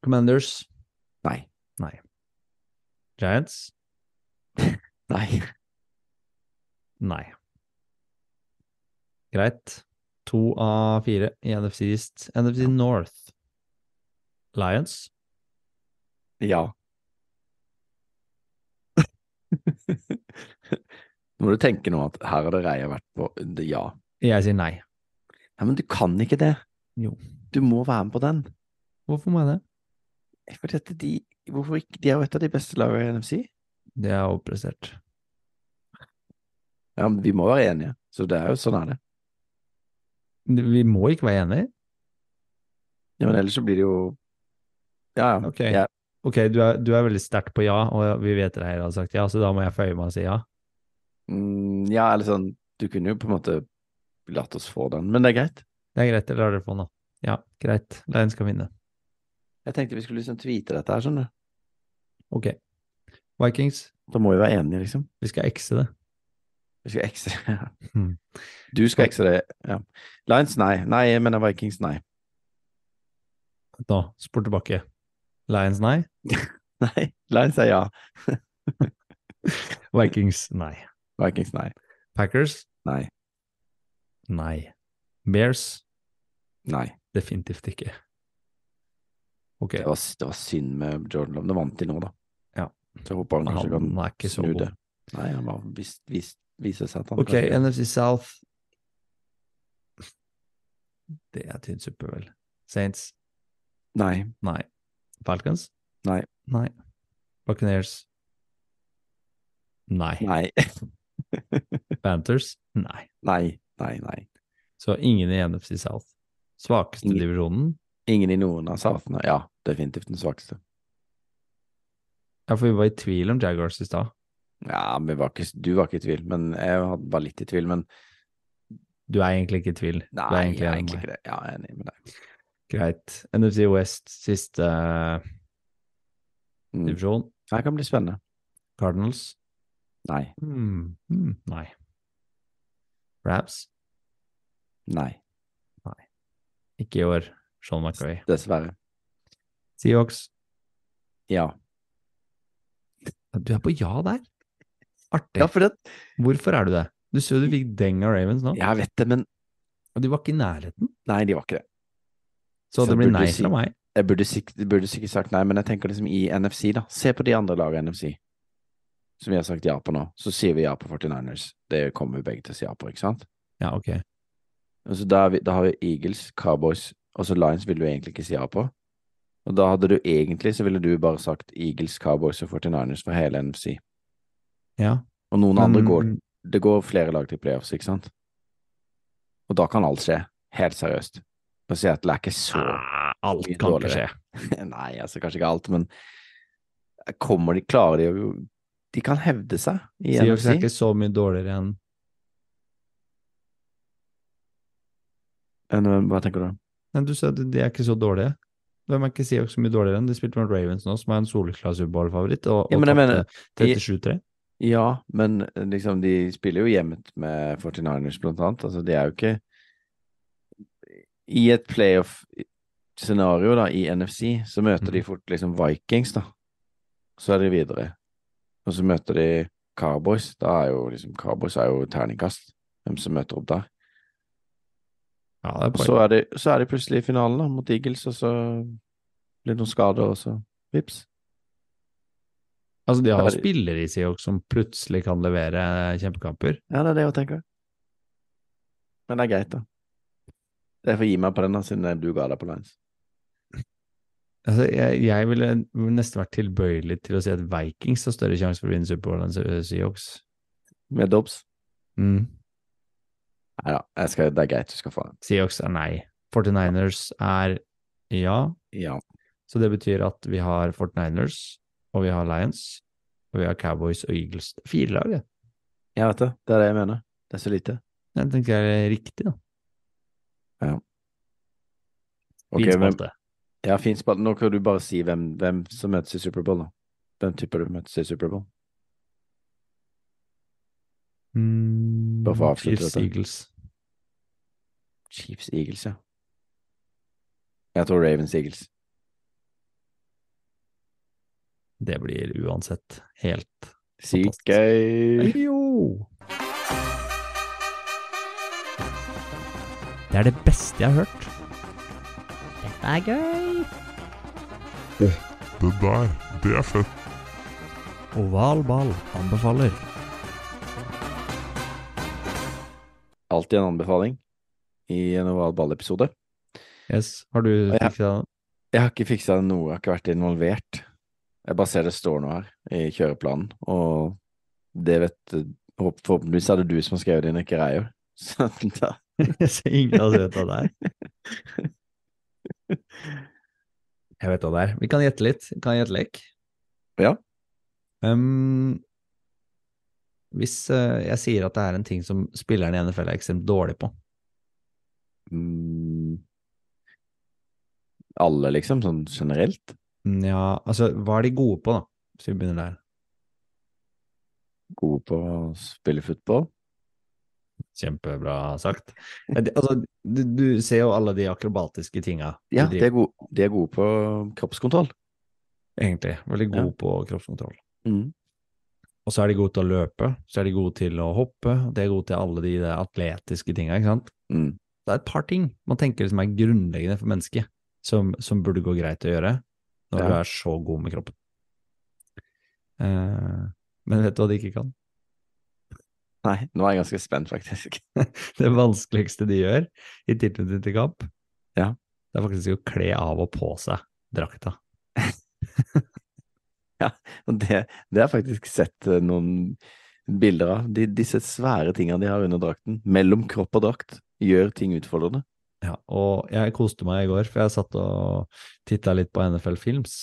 B: Commanders,
A: Nei.
B: Giants,
A: Nei.
B: nei. Greit. To av fire i NFC East. NFC North. Lions.
A: Ja. Nå må du tenke nå at her har det reia vært på det ja.
B: Jeg sier nei.
A: Nei, men du kan ikke det.
B: Jo.
A: Du må være med på den.
B: Hvorfor må jeg det?
A: Fordi at de, hvorfor ikke? de er jo et av de beste lagene i NFC.
B: Det er overprestert.
A: Ja, men vi må være enige. Så det er jo sånn er det.
B: Vi må ikke være enige.
A: Ja, men ellers så blir det jo Ja, ja.
B: Ok,
A: Ja.
B: Ok, du, er, du er veldig sterkt på ja, og vi vet dere her har sagt ja, så da må jeg føye meg og si ja.
A: Mm, ja, eller sånn Du kunne jo på en måte latt oss få den, men det er greit.
B: Det er greit, jeg lar dere få den da. Ja, greit. Lions skal vinne.
A: Jeg tenkte vi skulle liksom tweete dette her, skjønner du.
B: Ok. Vikings,
A: Da må vi være enige, liksom.
B: vi skal ekse det.
A: Vi skal ekse ja.
B: Mm.
A: Du skal ekse det, ja. Lions, nei. Nei, jeg mener Vikings, nei.
B: Nå, spor tilbake. Lions, nei.
A: Nei, Lions er ja.
B: Vikings, nei.
A: Vikings, nei.
B: Packers,
A: Nei.
B: nei. Bears,
A: Nei.
B: definitivt ikke. Ok,
A: Det var, det var synd med Jordan Love. Nå vant de nå, da.
B: Ja.
A: Så jeg håper han kanskje
B: han
A: kan
B: er ikke så
A: snu
B: god.
A: det. Nei, han var visst, visst, viser seg at han
B: Ok,
A: kanskje-
B: NFC South. Det er tynn suppe, vel. Saints,
A: Nei.
B: Nei. Falcons?
A: Nei.
B: Nei. Buccaneers? Nei.
A: Nei.
B: Panthers? Nei.
A: Nei. Nei, nei.
B: Så ingen i NFC South. Svakeste
A: Ingen.
B: divisjonen?
A: Ingen i noen av southene. Ja, definitivt den svakeste.
B: Ja, for vi var i tvil om Jaguars i stad.
A: Ja, men vi var ikke, du var ikke i tvil, men jeg var litt i tvil, men
B: Du er egentlig ikke i tvil.
A: nei,
B: du er
A: jeg er
B: enig
A: egentlig ikke
B: med meg.
A: det. Ja, jeg er enig med deg.
B: Greit. NFC West, siste eh,
A: Mm.
B: divisjon.
A: Det kan bli spennende.
B: Cardinals?
A: Nei.
B: Hmm. Hmm. Nei. Raps?
A: Nei.
B: Ikke i år. Sean McRae.
A: Dessverre.
B: Seahawks?
A: Ja.
B: Du er på ja der! Artig.
A: Ja, for det,
B: Hvorfor er du det? Du så jo du fikk deng av Ravens nå,
A: jeg vet det, men
B: og de var ikke i nærheten.
A: nei, de var ikke det.
B: Så
A: Så
B: det blir
A: burde du
B: nei
A: si-
B: fra meg.
A: Jeg burde, sikk- burde sikkert sagt nei, men jeg tenker liksom i NFC, da. Se på de andre lagene i NFC som vi har sagt ja på nå. Så sier vi ja på 49ers. Det kommer vi begge til å si ja på, ikke sant?
B: Ja, ok.
A: Og så da, er vi, da har vi Eagles, Cowboys og så Lions vil du egentlig ikke si ja på. Og da hadde du egentlig så ville du bare sagt Eagles, Cowboys og 49ers for hele NFC.
B: Ja.
A: Og noen andre
B: men-
A: går Det går flere lag til playoffs, ikke sant? Og da kan alt skje. Helt seriøst. Og Seattle er ikke så
B: Ah, Alt
A: mye
B: kan ikke skje.
A: dårligere. Nei, altså kanskje ikke alt, men kommer de Klarer de å De kan hevde seg i
B: Seahawks er
A: NFC.
B: ikke så mye dårligere enn
A: enn eh, Hva tenker du?
B: Nei, du sa at de er ikke så dårlige. De er ikke Seahawks så mye dårligere enn de spilte med Ravens nå, som er en soleklar Superbowl-favoritt, og, og
A: Ja, men jeg
B: tapte
A: mener-
B: 37-3.
A: Ja, men eh, liksom, de spiller jo jevnt med 49ers, blant annet. Altså, de er jo ikke I et playoff-scenario, da, i NFC, så møter
B: Mhm.
A: de fort liksom Vikings, da. Så er de videre. Og så møter de Cowboys. Da er jo liksom Cowboys er jo terningkast, hvem som møter opp der.
B: Ja, det er
A: Og
B: poeng.
A: så er, de, så er de plutselig i finalen da, mot Eagles, og så blir det noen skader, og så vips.
B: Altså, de har
A: Da
B: jo
A: er de-
B: spillere i Seahawks som plutselig kan levere kjempekamper.
A: Ja, det er det jeg tenker. Men det er greit, da. Jeg får gi meg på den, da, siden du ga deg på Lions.
B: Altså, jeg, jeg ville nesten vært tilbøyelig til å si at Vikings har større sjanse for å vinne Superbowl enn Se- Seahawks.
A: Med Dobbs.
B: Mm.
A: Nei da, jeg skal- det er greit, du skal få den.
B: Seahawks er nei. 49ers er ja.
A: Ja.
B: Så det betyr at vi har 49ers, og vi har Lions, og vi har Cowboys og Eagles. Fire lag, det.
A: Jeg vet det. Det er det jeg mener. Det er så lite.
B: Jeg tenker jeg er riktig, da.
A: Ok,
B: Fin
A: men,
B: spalte.
A: ja, fin spalte. Nå kan du bare si hvem, hvem som møtes i Superbowl, da. Hvem tipper du møtes i Superbowl?
B: Mm,
A: Bare for å avslutte
B: Chiefs
A: dette.
B: Eagles.
A: Chiefs Eagles, ja. Jeg tror Ravens Eagles.
B: Det blir uansett helt
A: Sykt
B: Fantastisk.
A: gøy!
B: Jo! Det er det beste jeg har hørt.
C: Dette er gøy.
E: Det der, det er fett.
B: Oval ball anbefaler.
A: Alltid en anbefaling i en oval ball-episode.
B: Yes, har du
A: Ja.
B: fiksa den?
A: Jeg har ikke fiksa noe, jeg har ikke vært involvert. Jeg bare ser det står noe her i kjøreplanen, og det vet håp- Forhåpentligvis er det du som har skrevet dine greier. Så da
B: Jeg ser ingen av oss vet hva det er. Jeg vet hva det er. Vi kan gjette litt. Vi kan gjette lek.
A: Ja.
B: Ehm, hvis eh, jeg sier at det er en ting som spilleren i NFL er ekstremt dårlig på
A: mm, Alle, liksom, sånn generelt.
B: Ja, altså, hva er de gode på, da? Hvis vi begynner der.
A: Gode på å spille fotball.
B: Kjempebra sagt. Eh, det- Altså, du, du ser jo alle de akrobatiske tinga. de
A: Ja, de
B: driver-
A: er gode, de er gode på kroppskontroll.
B: Egentlig. Veldig gode på kroppskontroll.
A: Mm.
B: Og så er de gode til å løpe, så er de gode til å hoppe, de er gode til alle de der atletiske tinga, ikke sant.
A: Mm.
B: Det er et par ting man tenker som er grunnleggende for mennesket, som, som burde gå greit å gjøre når
A: Ja.
B: du er så god med kroppen. Eh, men vet du hva de ikke kan?
A: Nei, nå er jeg ganske spent, faktisk.
B: Det vanskeligste de gjør i tilknytning til kamp,
A: Ja.
B: det er faktisk å kle av og på seg drakta.
A: Og det, det har jeg faktisk sett eh, noen bilder av. De, disse svære tingene de har under drakten, mellom kropp og drakt, gjør ting utfordrende.
B: Ja, og jeg koste meg i går, for jeg satt og titta litt på NFL Films,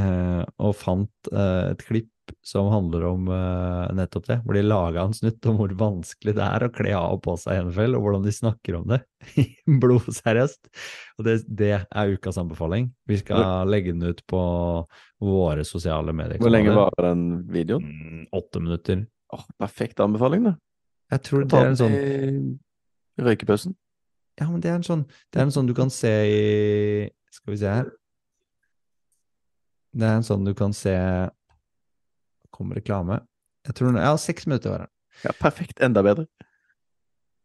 B: eh, og fant eh, et klipp som handler om eh, nettopp det, hvor de laga en snutt om hvor vanskelig det er å kle av og på seg i NFL, og hvordan de snakker om det. Blodseriøst. Og det, det er ukas anbefaling. Vi skal legge den ut på våre sosiale medier.
A: Hvor lenge varer den videoen?
B: Mm, Åtte minutter.
A: Sånn Åh, perfekt anbefaling, da.
B: Jeg tror det
A: Ta
B: er en sånn
A: den i røykepausen.
B: Ja, men det er en sånn, det er en sånn du kan se i Skal vi se her. Det er en sånn du kan se Kom reklame. Jeg tror den- Ja, seks minutter var det.
A: Ja, perfekt. Enda bedre.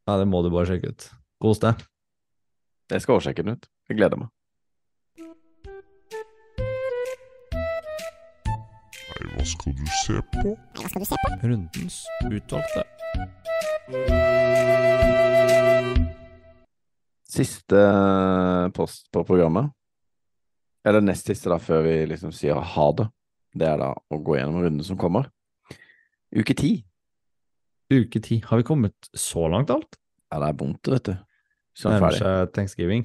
B: Ja, det må du bare sjekke ut. Kos deg.
A: Jeg skal oversjekke den ut. Jeg gleder meg.
E: Nei, hva skal du se på?
C: Nei, hva skal du se på?
B: Rundens utvalgte.
A: Siste eh, post på programmet, eller nest siste da, før vi liksom sier ha det, det er da å gå gjennom runden som kommer. Uke ti.
B: Uke ti. Har vi kommet så langt alt?
A: Ja, det er vondt, vet du. Sånn
B: Nærmer
A: ferdig.
B: seg thanksgiving.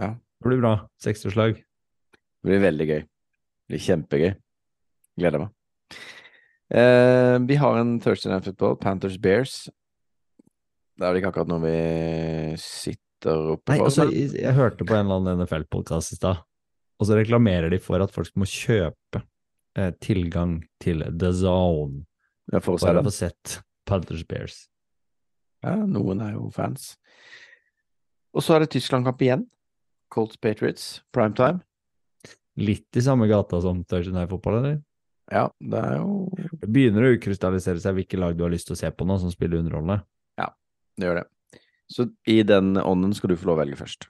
A: Ja.
B: Det blir bra. Seksårslag.
A: Det blir veldig gøy. Det blir kjempegøy. Gleder meg. Eh, vi har en Thursday Night Football, Panthers Bears. Det er vel ikke akkurat noe vi sitter sitter oppe
B: Nei,
A: foran
B: altså,
A: der.
B: jeg, jeg hørte på en eller annen NFL-podkast i stad, og så reklamerer de for at folk må kjøpe eh, tilgang til The Zone
A: Ja, for å si
B: bare
A: det.
B: for å få sett Panthers Bears.
A: Ja, noen er jo fans. Og så er det Tyskland-kamp igjen. Colts Patriots, primetime.
B: Litt i samme gata som Thursday Night Football, eller?
A: Ja, det er jo
B: Det begynner å ukrystallisere seg hvilke lag du har lyst til å se på nå, som spiller underholdende.
A: Det gjør det. Så i den ånden skal du få lov å velge først.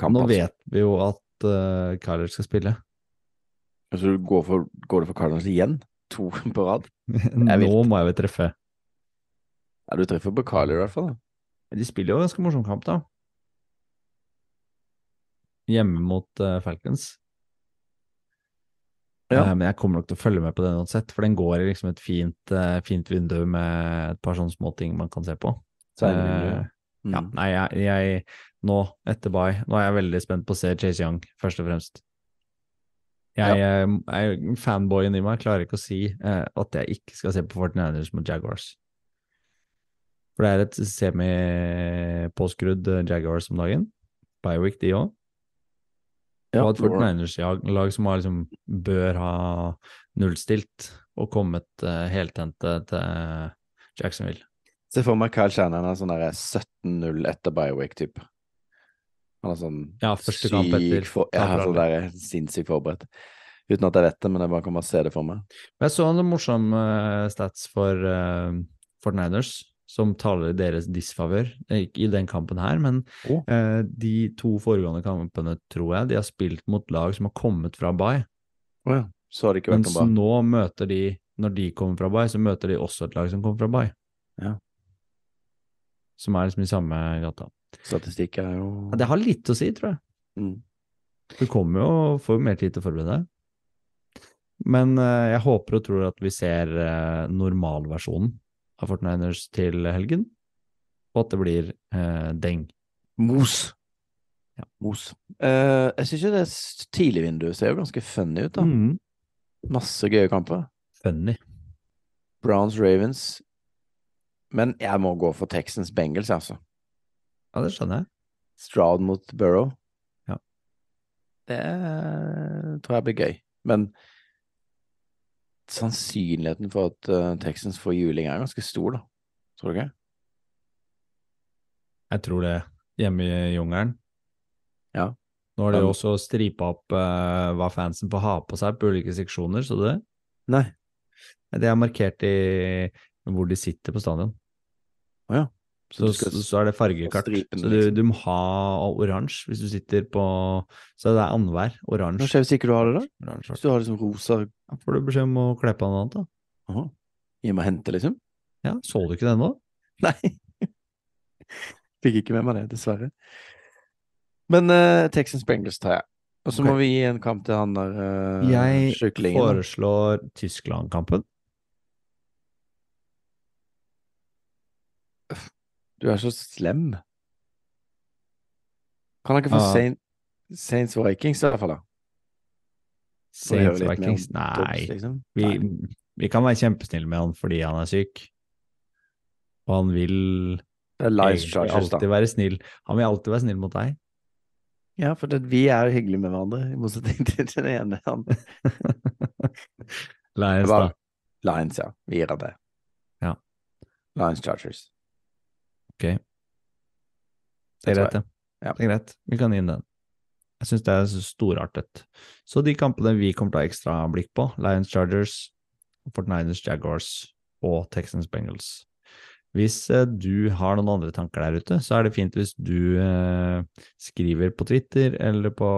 A: Kamp,
B: Nå
A: altså.
B: vet vi jo at uh, Kyler skal spille.
A: Altså, du går, for, går du for Cardinals igjen? To på rad?
B: Nå må jeg vel treffe.
A: Ja, du treffer på Carly i hvert fall. da.
B: Men De spiller jo en ganske morsom kamp, da. Hjemme mot eh, Falcons.
A: Ja.
B: Eh, men jeg kommer nok til å følge med på den uansett, for den går i liksom et fint, eh, fint vindu med et par sånne små ting man kan se på.
A: Så er det vinduet,
B: Eh,
A: Mm.
B: ja, nei, jeg, jeg nå, etter bye, nå er jeg veldig spent på å se Chase Young, først og fremst. Jeg, eh, jeg fanboyen i meg klarer ikke å si eh, at jeg ikke skal se på 49ers mot Jaguars. For det er et semipåskrudd eh, Jaguars om dagen. Biowick, de òg.
A: Ja,
B: og at
A: det var det.
B: 49ers-lag som har liksom bør ha nullstilt og kommet eh, heltente til eh, Jacksonville.
A: Se for meg Kyle Shannon er sånn der 17-0 etter Biowake-type. Han er sånn
B: Ja, første kamp
A: syk
B: etter
A: for, ja,
B: Kamp
A: sånn der sinnssykt forberedt. Uten at jeg vet det, men jeg bare kommer til å se det for meg.
B: Jeg så noen morsomme eh, stats for uh, Fortniners, som taler i deres disfavør. eh, Ikke i den kampen her, men
A: Å.
B: eh, de to foregående kampene, tror jeg, de har spilt mot lag som har kommet fra Bay.
A: Å ja. Så har det ikke vært
B: Mens
A: noe bra.
B: nå møter de, når de kommer fra Bay, så møter de også et lag som kommer fra Bay.
A: Ja.
B: Som er liksom i samme gata.
A: Statistikk er jo
B: Ja, Det har litt å si, tror jeg.
A: mm.
B: Du kommer jo og får jo mer tid til å forberede deg. Men eh, jeg håper og tror at vi ser eh, normalversjonen av Fortniners til helgen, og at det blir eh, deng.
A: Mos.
B: Ja.
A: Mos. Eh, jeg syns jo det s- tidligvinduet ser jo ganske funny ut, da.
B: Mm.
A: Masse gøye kamper.
B: Funny.
A: Browns Ravens. Men jeg må gå for Texans Bengals, jeg, altså.
B: Ja, det skjønner jeg.
A: Stroud mot Burrow.
B: Ja.
A: Det eh, tror jeg blir gøy. Men sannsynligheten for at eh, Texans får juling, er ganske stor, da. Tror du ikke?
B: Jeg tror det. Hjemme i jungelen.
A: Ja.
B: Nå har de
A: Men-
B: jo også stripa opp eh, hva fansen får ha på seg på ulike seksjoner, så du det?
A: Nei.
B: Det er markert i hvor de sitter på stadion.
A: Så
B: Så,
A: du skal,
B: så, så er det fargekart.
A: stripen,
B: så du,
A: liksom.
B: du må ha oransje hvis du sitter på Så det er annenhver.
A: hva
B: Oransje.
A: skjer hvis ikke du har det, da?
B: oransje.
A: Hvis du har det som rosa
B: Da får du beskjed om å kle på noe annet, da.
A: Aha. Gi meg hente, liksom?
B: Ja, Så du ikke det ennå?
A: Nei. Fikk ikke med meg det, dessverre. Men eh, Texans Bengals tar jeg. Og så
B: Ok.
A: må vi gi en kamp til han der uh,
B: Jeg
A: sjuklingen. da.
B: Foreslår Tyskland-kampen.
A: Du er så slem. Kan dere få
B: Ja.
A: Saint, Saints Vikings i hvert fall, da? Får vi høre
B: Saints
A: litt mer om
B: Vikings.
A: Dobbs,
B: Nei.
A: liksom.
B: Vi,
A: Nei.
B: vi kan være kjempesnille med han fordi han er syk. Og han vil
A: Det er Lions
B: egentlig
A: Chargers, da.
B: alltid være snill. Han vil alltid være snill mot deg.
A: Ja, for det, vi er hyggelige med hverandre, i motsetning til den ene. Han.
B: Lions, da.
A: Hva- Lions, ja. Vi gir deg det.
B: Ja.
A: Lions Chargers.
B: Det er
A: Det
B: greit, det.
A: Ja.
B: Det er greit. Vi kan gi inn den. Jeg syns det er så storartet. Så de kampene vi kommer til å ha ekstra blikk på, Lions Chargers, Fortniners Jaguars og Texans Bengals. Hvis eh, du har noen andre tanker der ute, så er det fint hvis du eh, skriver på Twitter eller på,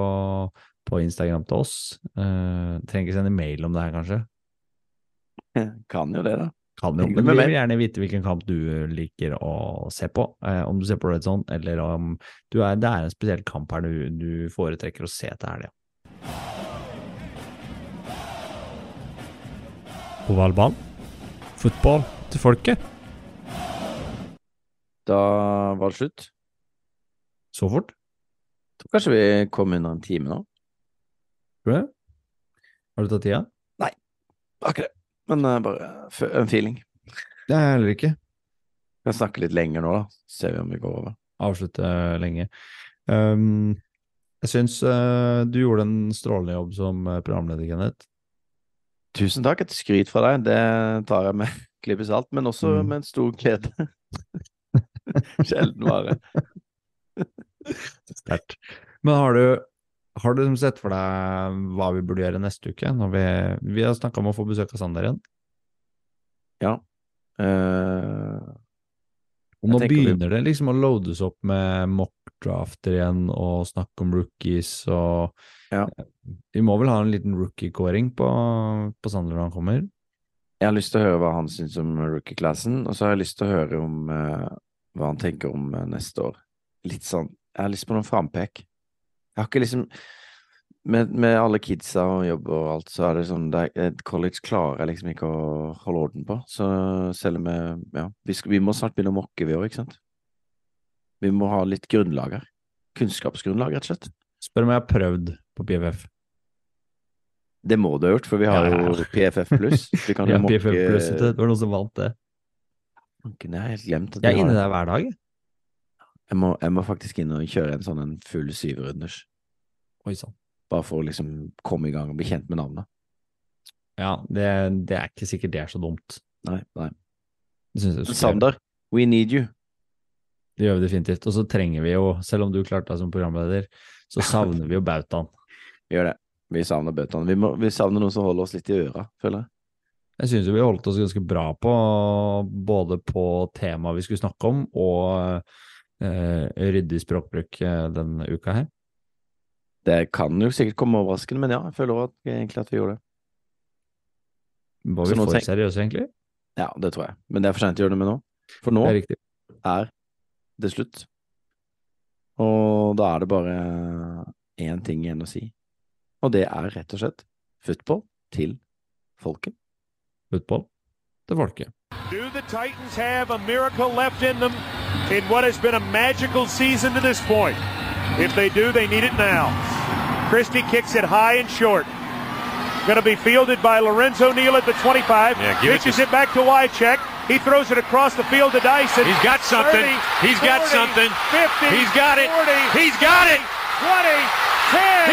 B: på Instagram til oss. Eh, trenger ikke sende mail om det her, kanskje.
A: Kan jo det, da.
B: Kan jo,
A: Hyggelig
B: men
A: med
B: vi
A: meg.
B: vil gjerne vite hvilken kamp du liker å se på. Eh, om du ser på Red Zone, eller om du er, det er en spesiell kamp her du, du foretrekker å se til helga. På valgbanen. Fotball til folket.
A: Da var det slutt.
B: Så fort.
A: Tror kanskje vi kom under en time nå.
B: Tror du det? Har du tatt tida?
A: Akkurat. Men eh, bare f- en feeling.
B: Det har jeg heller ikke.
A: Kan snakke litt lenger nå, da. Ser vi om vi går over.
B: avslutte eh, lenge. Ehm, jeg syns eh, du gjorde en strålende jobb som eh, programleder, Kenneth.
A: Tusen takk. Et skryt fra deg. Det tar jeg med klype salt, men også
B: Mm.
A: med en stor glede. Sjelden vare.
B: Sterkt. Men har du, har du liksom sett for deg hva vi burde gjøre neste uke? Når vi, vi har snakka om å få besøk av Sander igjen.
A: Ja. Eh,
B: Og nå
A: Jeg tenker vi-
B: begynner det liksom å loades opp med mockdrafter igjen og snakk om rookies og eh,
A: Ja.
B: Vi må vel ha en liten rookie-kåring på, på Sander når han kommer?
A: jeg har lyst til å høre hva han syns om rookie-klassen, og så har jeg lyst til å høre om eh, hva han tenker om eh, neste år. Litt sånn Jeg har lyst på noen frampek. Jeg har ikke liksom med, med alle kidsa og jobb og alt, så er det sånn det er, et College klarer jeg liksom ikke å holde orden på. Så selv om jeg Ja, vi, skal, vi må snart begynne å mokke, vi òg, ikke sant? Vi må ha litt grunnlag her. Kunnskapsgrunnlag, rett og slett.
B: Spør om jeg har prøvd på PFF.
A: Det må du ha gjort, for vi har
B: Ja, ja.
A: jo PFF pluss. Vi kan
B: Ja,
A: jo mokke
B: PFF pluss, vet du, det var noen som vant det.
A: Fanken, Jeg har helt glemt at vi
B: Jeg er
A: har
B: inne
A: det.
B: der hver dag. jeg.
A: Jeg må, jeg må faktisk inn og kjøre en sånn en full syvrunders,
B: Oi sann.
A: bare for å liksom komme i gang og bli kjent med navnet.
B: Ja, det, det er ikke sikkert det er så dumt.
A: Nei, nei.
B: Det synes jeg du skal gjøre.
A: Sander, we need you.
B: Det gjør vi definitivt. Og så trenger vi jo, selv om du klarte deg som programleder, så savner vi jo bautaen.
A: Vi gjør det. Vi savner bøtene. Vi, må- vi savner noen som holder oss litt i øra, føler jeg.
B: Jeg synes jo vi holdt oss ganske bra på både på temaet vi skulle snakke om, og eh, ryddig språkbruk eh, denne uka her.
A: Det kan jo sikkert komme overraskende, men ja, jeg føler også at, egentlig at vi gjorde det.
B: Var
A: Så
B: vi
A: nå
B: for
A: tenk-
B: seriøse, egentlig?
A: Ja, det tror jeg. Men det er for sent å gjøre det med nå. For nå
B: Det er riktig.
A: er det slutt. Og da er det bare én ting igjen å si, og det er rett og slett football til folket.
B: Football til folket.
F: Do the Titans have a miracle left in them in what has been a magical season to this point? If they do, they need it now. Christie kicks it high and short. Going to be fielded by Lorenzo Neal at the 25.
G: Yeah, give it
F: pitches
G: to-
F: it, back to Wycheck. He throws it across the field to Dyson.
G: He's got something.
F: 30,
G: He's got
F: 40,
G: something.
F: 50,
G: He's got it.
F: 40,
G: He's got it.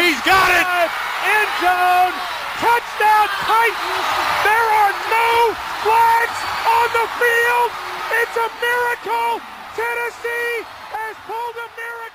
F: 20, 10.
G: He's got it.
F: five, End zone. Touchdown Titans. There are no flags on the field. It's a miracle. Tennessee has pulled a miracle.